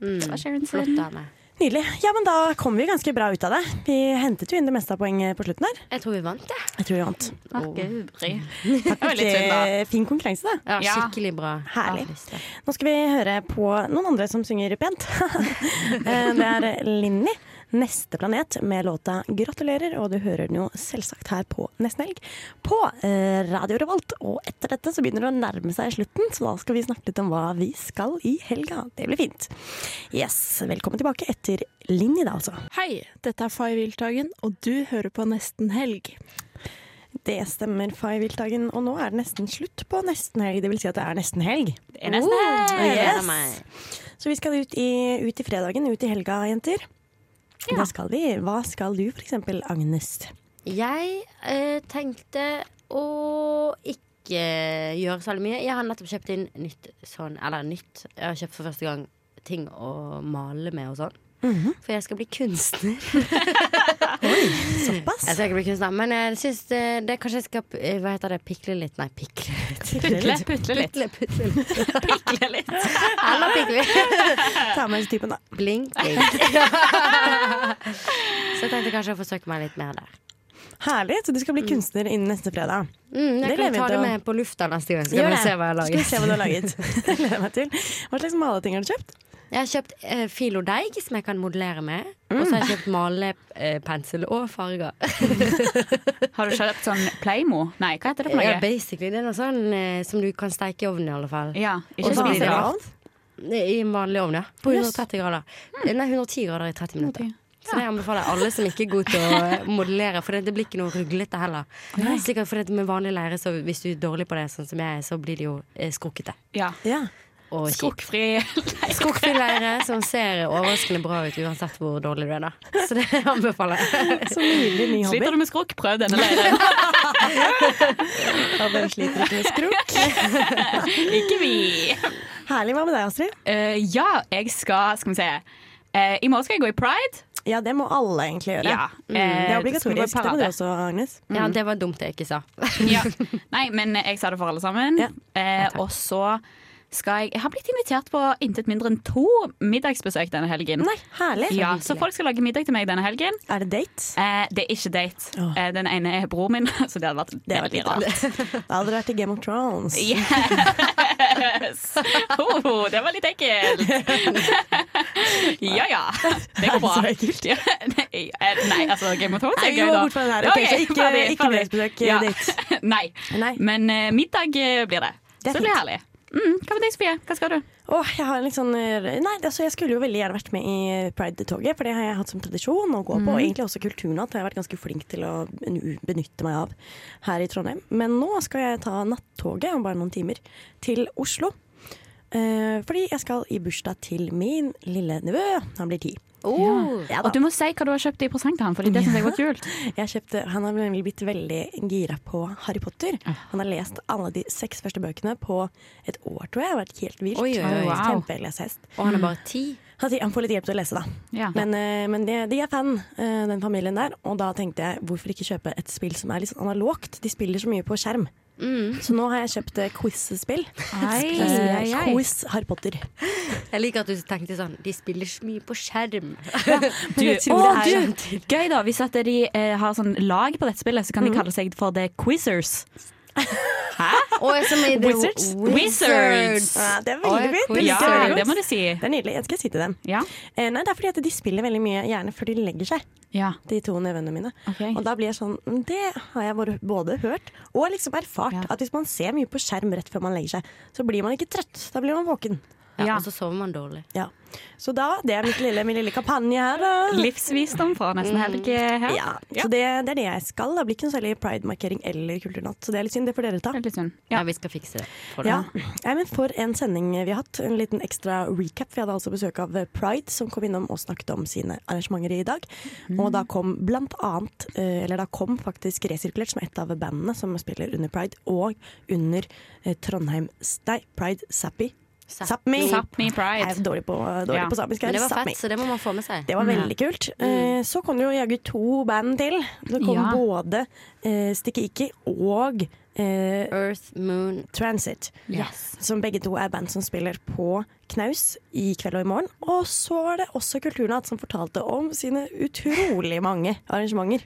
Speaker 8: Mm.
Speaker 4: sin.
Speaker 8: Flott dame.
Speaker 1: Nydelig. Ja, men da kom vi ganske bra ut av det. Vi hentet jo inn det meste av poenget på slutten her.
Speaker 8: Jeg tror vi Eh, vant, Oh. jeg.
Speaker 1: Jeg tror vi vant.
Speaker 4: Guri.
Speaker 1: Takk for
Speaker 8: var litt synd, da.
Speaker 1: eh, fin konkurranse, da.
Speaker 8: Ja, skikkelig bra.
Speaker 1: Herlig. Nå skal vi høre på noen andre som synger pent. Eh, det er Linni, 'Neste planet', med låta 'Gratulerer'. Og du hører den jo selvsagt her på nesten helg på eh, Radio Revolt. Og etter dette så begynner det å nærme seg slutten, så da skal vi snakke litt om hva vi skal i helga. Det blir fint. Yes, velkommen tilbake etter Linni, da altså.
Speaker 13: Hei, dette er Fay Wiltagen, og du hører på Nesten Helg.
Speaker 1: Det stemmer, Fay Wiltagen. Og nå er det nesten slutt på nesten helg. Det vil si at det er nesten helg. Det
Speaker 4: er nesten helg. Gleder meg.
Speaker 1: Yes. Så vi skal ut i, ut i fredagen, ut i helga, jenter. Det skal vi. Hva skal du for eksempel, Agnes?
Speaker 8: Jeg eh, tenkte å ikke gjøre så veldig mye. Jeg har nettopp kjøpt inn nytt sånn Eller nytt. Jeg har kjøpt for første gang ting å male med og sånn.
Speaker 1: Mm-hmm.
Speaker 8: For jeg skal bli kunstner.
Speaker 1: såpass?
Speaker 8: Jeg skal ikke bli kunstner, men jeg syns det, det kanskje jeg skal eh, Hva heter det? Pikle litt? Nei, pikle litt.
Speaker 4: Putle, putle litt.
Speaker 8: Putle, putle litt. Eller pikle.
Speaker 1: Ta med oss typen, da.
Speaker 8: Blink, blink. Så jeg tenkte kanskje å forsøke meg litt mer der.
Speaker 1: Herlig, så du skal bli kunstner innen neste fredag.
Speaker 8: Mm, jeg kan
Speaker 1: lever
Speaker 8: ta
Speaker 1: til
Speaker 8: det
Speaker 1: å-
Speaker 8: med på lufta neste gang, så skal
Speaker 1: Gjør
Speaker 8: vi
Speaker 1: det.
Speaker 8: se hva jeg har laget.
Speaker 1: Skal vi se hva du har laget. Det gleder jeg meg til. Hva slags maleting har du kjøpt?
Speaker 8: Jeg har kjøpt eh, filodeig som jeg kan modellere med.
Speaker 1: Mm.
Speaker 8: Og så har jeg kjøpt malepensel og farger.
Speaker 4: Har du kjøpt sånn Playmo? Nei, hva heter det for
Speaker 8: Eh,
Speaker 4: noe?
Speaker 1: Eh,
Speaker 8: Ja, basically, det er noe sånn eh, som du kan steike i ovnen i alle fall.
Speaker 4: Ja, ikke
Speaker 8: Og så blir
Speaker 4: spise
Speaker 8: det
Speaker 4: det
Speaker 8: rart. I en vanlig ovn, ja. På
Speaker 4: Yes.
Speaker 8: 130 grader. Eh, Nei, 110 grader i 30 minutter. Så det anbefaler jeg alle som ikke er gode til å eh, modellere, for det, det blir ikke noe ruglete heller. Sikkert for det med vanlig leire, så hvis du er dårlig på det, sånn som jeg er, så blir det jo eh, skrukkete.
Speaker 4: Ja.
Speaker 8: Og kjipt.
Speaker 4: Skrukkfri leir.
Speaker 8: Skrukkfri leire som ser overraskende bra ut uansett hvor dårlig du er, da. Så det anbefaler jeg.
Speaker 1: Så nydelig ny hobby.
Speaker 4: Sliter du med skrukk? Prøv denne leiren.
Speaker 1: Ja, hvem sliter ikke med skrok?
Speaker 4: ikke vi.
Speaker 1: Herlig. Hva med deg, Astrid?
Speaker 4: Eh, ja, jeg skal Skal vi se. Eh, I morgen skal jeg gå i pride.
Speaker 1: Ja, det må alle egentlig gjøre.
Speaker 4: Ja.
Speaker 1: Mm.
Speaker 4: eh,
Speaker 1: Det er obligatorisk. Det må du også, Agnes.
Speaker 8: Ja,
Speaker 4: Mm.
Speaker 8: det var dumt jeg ikke sa.
Speaker 4: ja. Nei, men jeg sa det for alle sammen. eh, og så skal jeg Jeg har blitt invitert på intet mindre enn to middagsbesøk denne helgen.
Speaker 1: Nei, herlig.
Speaker 4: Ja, så folk skal lage middag til meg denne helgen.
Speaker 1: Er det date?
Speaker 4: Eh, det er ikke date. Eh, den ene er bror min, så det hadde vært
Speaker 1: Det hadde
Speaker 4: veldig
Speaker 1: vært
Speaker 4: rart.
Speaker 1: litt rart. Da hadde det vært i Game of Thrones.
Speaker 4: Yes. Oh, det var litt ekkelt. Ja ja, det går bra.
Speaker 1: Er det
Speaker 4: Ja, nei, eh, nei, altså Game of Thrones
Speaker 1: Nei,
Speaker 4: er
Speaker 1: vi
Speaker 4: gøy,
Speaker 1: må
Speaker 4: da.
Speaker 1: bort fra det her.
Speaker 4: Ja,
Speaker 1: Ok,
Speaker 4: ok,
Speaker 1: så ikke-
Speaker 4: ferdig,
Speaker 1: ikke eh,
Speaker 4: ferdig.
Speaker 1: middagsbesøk,
Speaker 4: Ja.
Speaker 1: date.
Speaker 4: Nei. Men eh, middag eh, blir det.
Speaker 1: Det er
Speaker 4: Så det blir
Speaker 1: fint.
Speaker 4: herlig. Mm, hva med deg, Sofie? Hva skal du?
Speaker 1: Åh, jeg har en litt sånn eh, Nei, altså jeg skulle jo veldig gjerne vært med i Pride-toget, for det har jeg hatt som tradisjon å gå på.
Speaker 4: Mhm.
Speaker 1: Og egentlig også Kulturnatt har jeg vært ganske flink til å benytte meg av her i Trondheim. Men nå skal jeg ta nattoget om bare noen timer til Oslo. Eh, fordi jeg skal i bursdag til min lille nevø. Han blir ti.
Speaker 4: Oh.
Speaker 1: Ja da.
Speaker 4: Og du må si hva du har kjøpt i presang til han, Fordi det synes jeg var kult.
Speaker 1: Jeg kjøpte, han har nemlig blitt veldig gira på Harry Potter. Han har lest alle de seks første bøkene på et år, tror jeg. Det har vært helt vilt.
Speaker 8: Oi, oi, oi.
Speaker 1: Wow.
Speaker 8: Wow.
Speaker 1: Kjempelesehest.
Speaker 8: Og han er bare ti?
Speaker 1: Han, sier- han får litt hjelp til å lese, da.
Speaker 8: Ja.
Speaker 1: Men, eh, men de, de er fan, eh, den familien der. Og da tenkte jeg hvorfor ikke kjøpe et spill som er litt sånn analogt? De spiller så mye på skjerm.
Speaker 8: Mm.
Speaker 1: Så nå har jeg kjøpt eh, quiz-spill.
Speaker 8: Ei,
Speaker 1: Eh,
Speaker 8: ei, ei.
Speaker 1: Quiz Harry Potter.
Speaker 8: Jeg liker at du tenkte sånn De spiller så mye på skjerm.
Speaker 4: Du,
Speaker 8: jeg tror
Speaker 4: å,
Speaker 8: det er-
Speaker 4: du, gøy da, hvis at de eh, har sånn lag på dette spillet,
Speaker 1: Mm.
Speaker 4: så kan de kalle seg for The Quizzers. Hæ?
Speaker 8: Å, som i The
Speaker 4: Wizards? Wizards.
Speaker 1: Ja, det er
Speaker 4: Å, ja,
Speaker 1: veldig fint.
Speaker 4: quiz.
Speaker 1: liker jeg veldig
Speaker 4: Ja, det
Speaker 1: godt.
Speaker 4: må du si.
Speaker 1: Det er nydelig. Jeg skal si til dem. Eh, nei, det er fordi at de spiller veldig mye, gjerne før de legger seg, de to nevøene mine. Og da blir jeg sånn mm, Det har jeg bare både hørt og liksom erfart. At hvis man ser mye på skjerm rett før man legger seg, så blir man ikke trøtt. Da blir man våken.
Speaker 8: Ja, Og så sover man dårlig.
Speaker 1: Ja. Så da, det er mitt lille, min lille kampanje her. Da. Mm.
Speaker 4: Livsvisdom fra nesten helg her.
Speaker 1: Ja, så det, det er det jeg skal. Det blir ikke noe særlig pridemarkering eller kulturnatt. Så det er litt synd, det får dere ta.
Speaker 8: Ja, vi skal fikse det. for
Speaker 1: Ja.
Speaker 8: deg.
Speaker 1: Nei, men for en sending vi har hatt. En liten ekstra recap. Vi hadde altså besøk av Pride, som kom innom og snakket om sine arrangementer i dag. Og da kom blant annet, eh, eller da kom faktisk Resirkulert, som er et av bandene som spiller under Pride, og under eh, Trondheim Nei, Pride Sappi. Sápmi!
Speaker 4: Sápmi Pride.
Speaker 1: Jeg er dårlig på, dårlig
Speaker 8: Ja. Mm.
Speaker 1: på samisk. her.
Speaker 8: Men det var
Speaker 1: Sápmi.
Speaker 8: fett, så det må man få med seg.
Speaker 1: Det var veldig kult. Eh, Så kom det jo jaggu to band til. Det kom
Speaker 8: Ja.
Speaker 1: både eh, Sticky Icky og eh,
Speaker 8: Earth Moon
Speaker 1: Transit.
Speaker 8: Yes.
Speaker 1: Som begge to er band som spiller på knaus i kveld og i morgen. Og så var det også Kulturnatt som fortalte om sine utrolig mange arrangementer.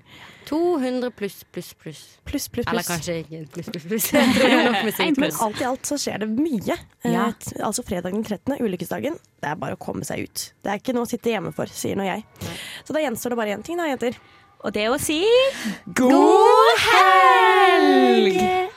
Speaker 8: 200 pluss, pluss, pluss.
Speaker 1: Pluss, pluss,
Speaker 8: Eller
Speaker 1: pluss.
Speaker 8: kanskje ikke pluss, pluss, pluss. Jeg tror det er nok musikk
Speaker 1: Men
Speaker 8: pluss.
Speaker 1: alt i alt så skjer det mye. Eh,
Speaker 8: Ja.
Speaker 1: t- altså fredag den 13., ulykkesdagen. Det er bare å komme seg ut. Det er ikke noe å sitte hjemme for, sier nå jeg. Så da gjenstår det bare én ting, da, jenter.
Speaker 4: Og det å si
Speaker 1: God helg!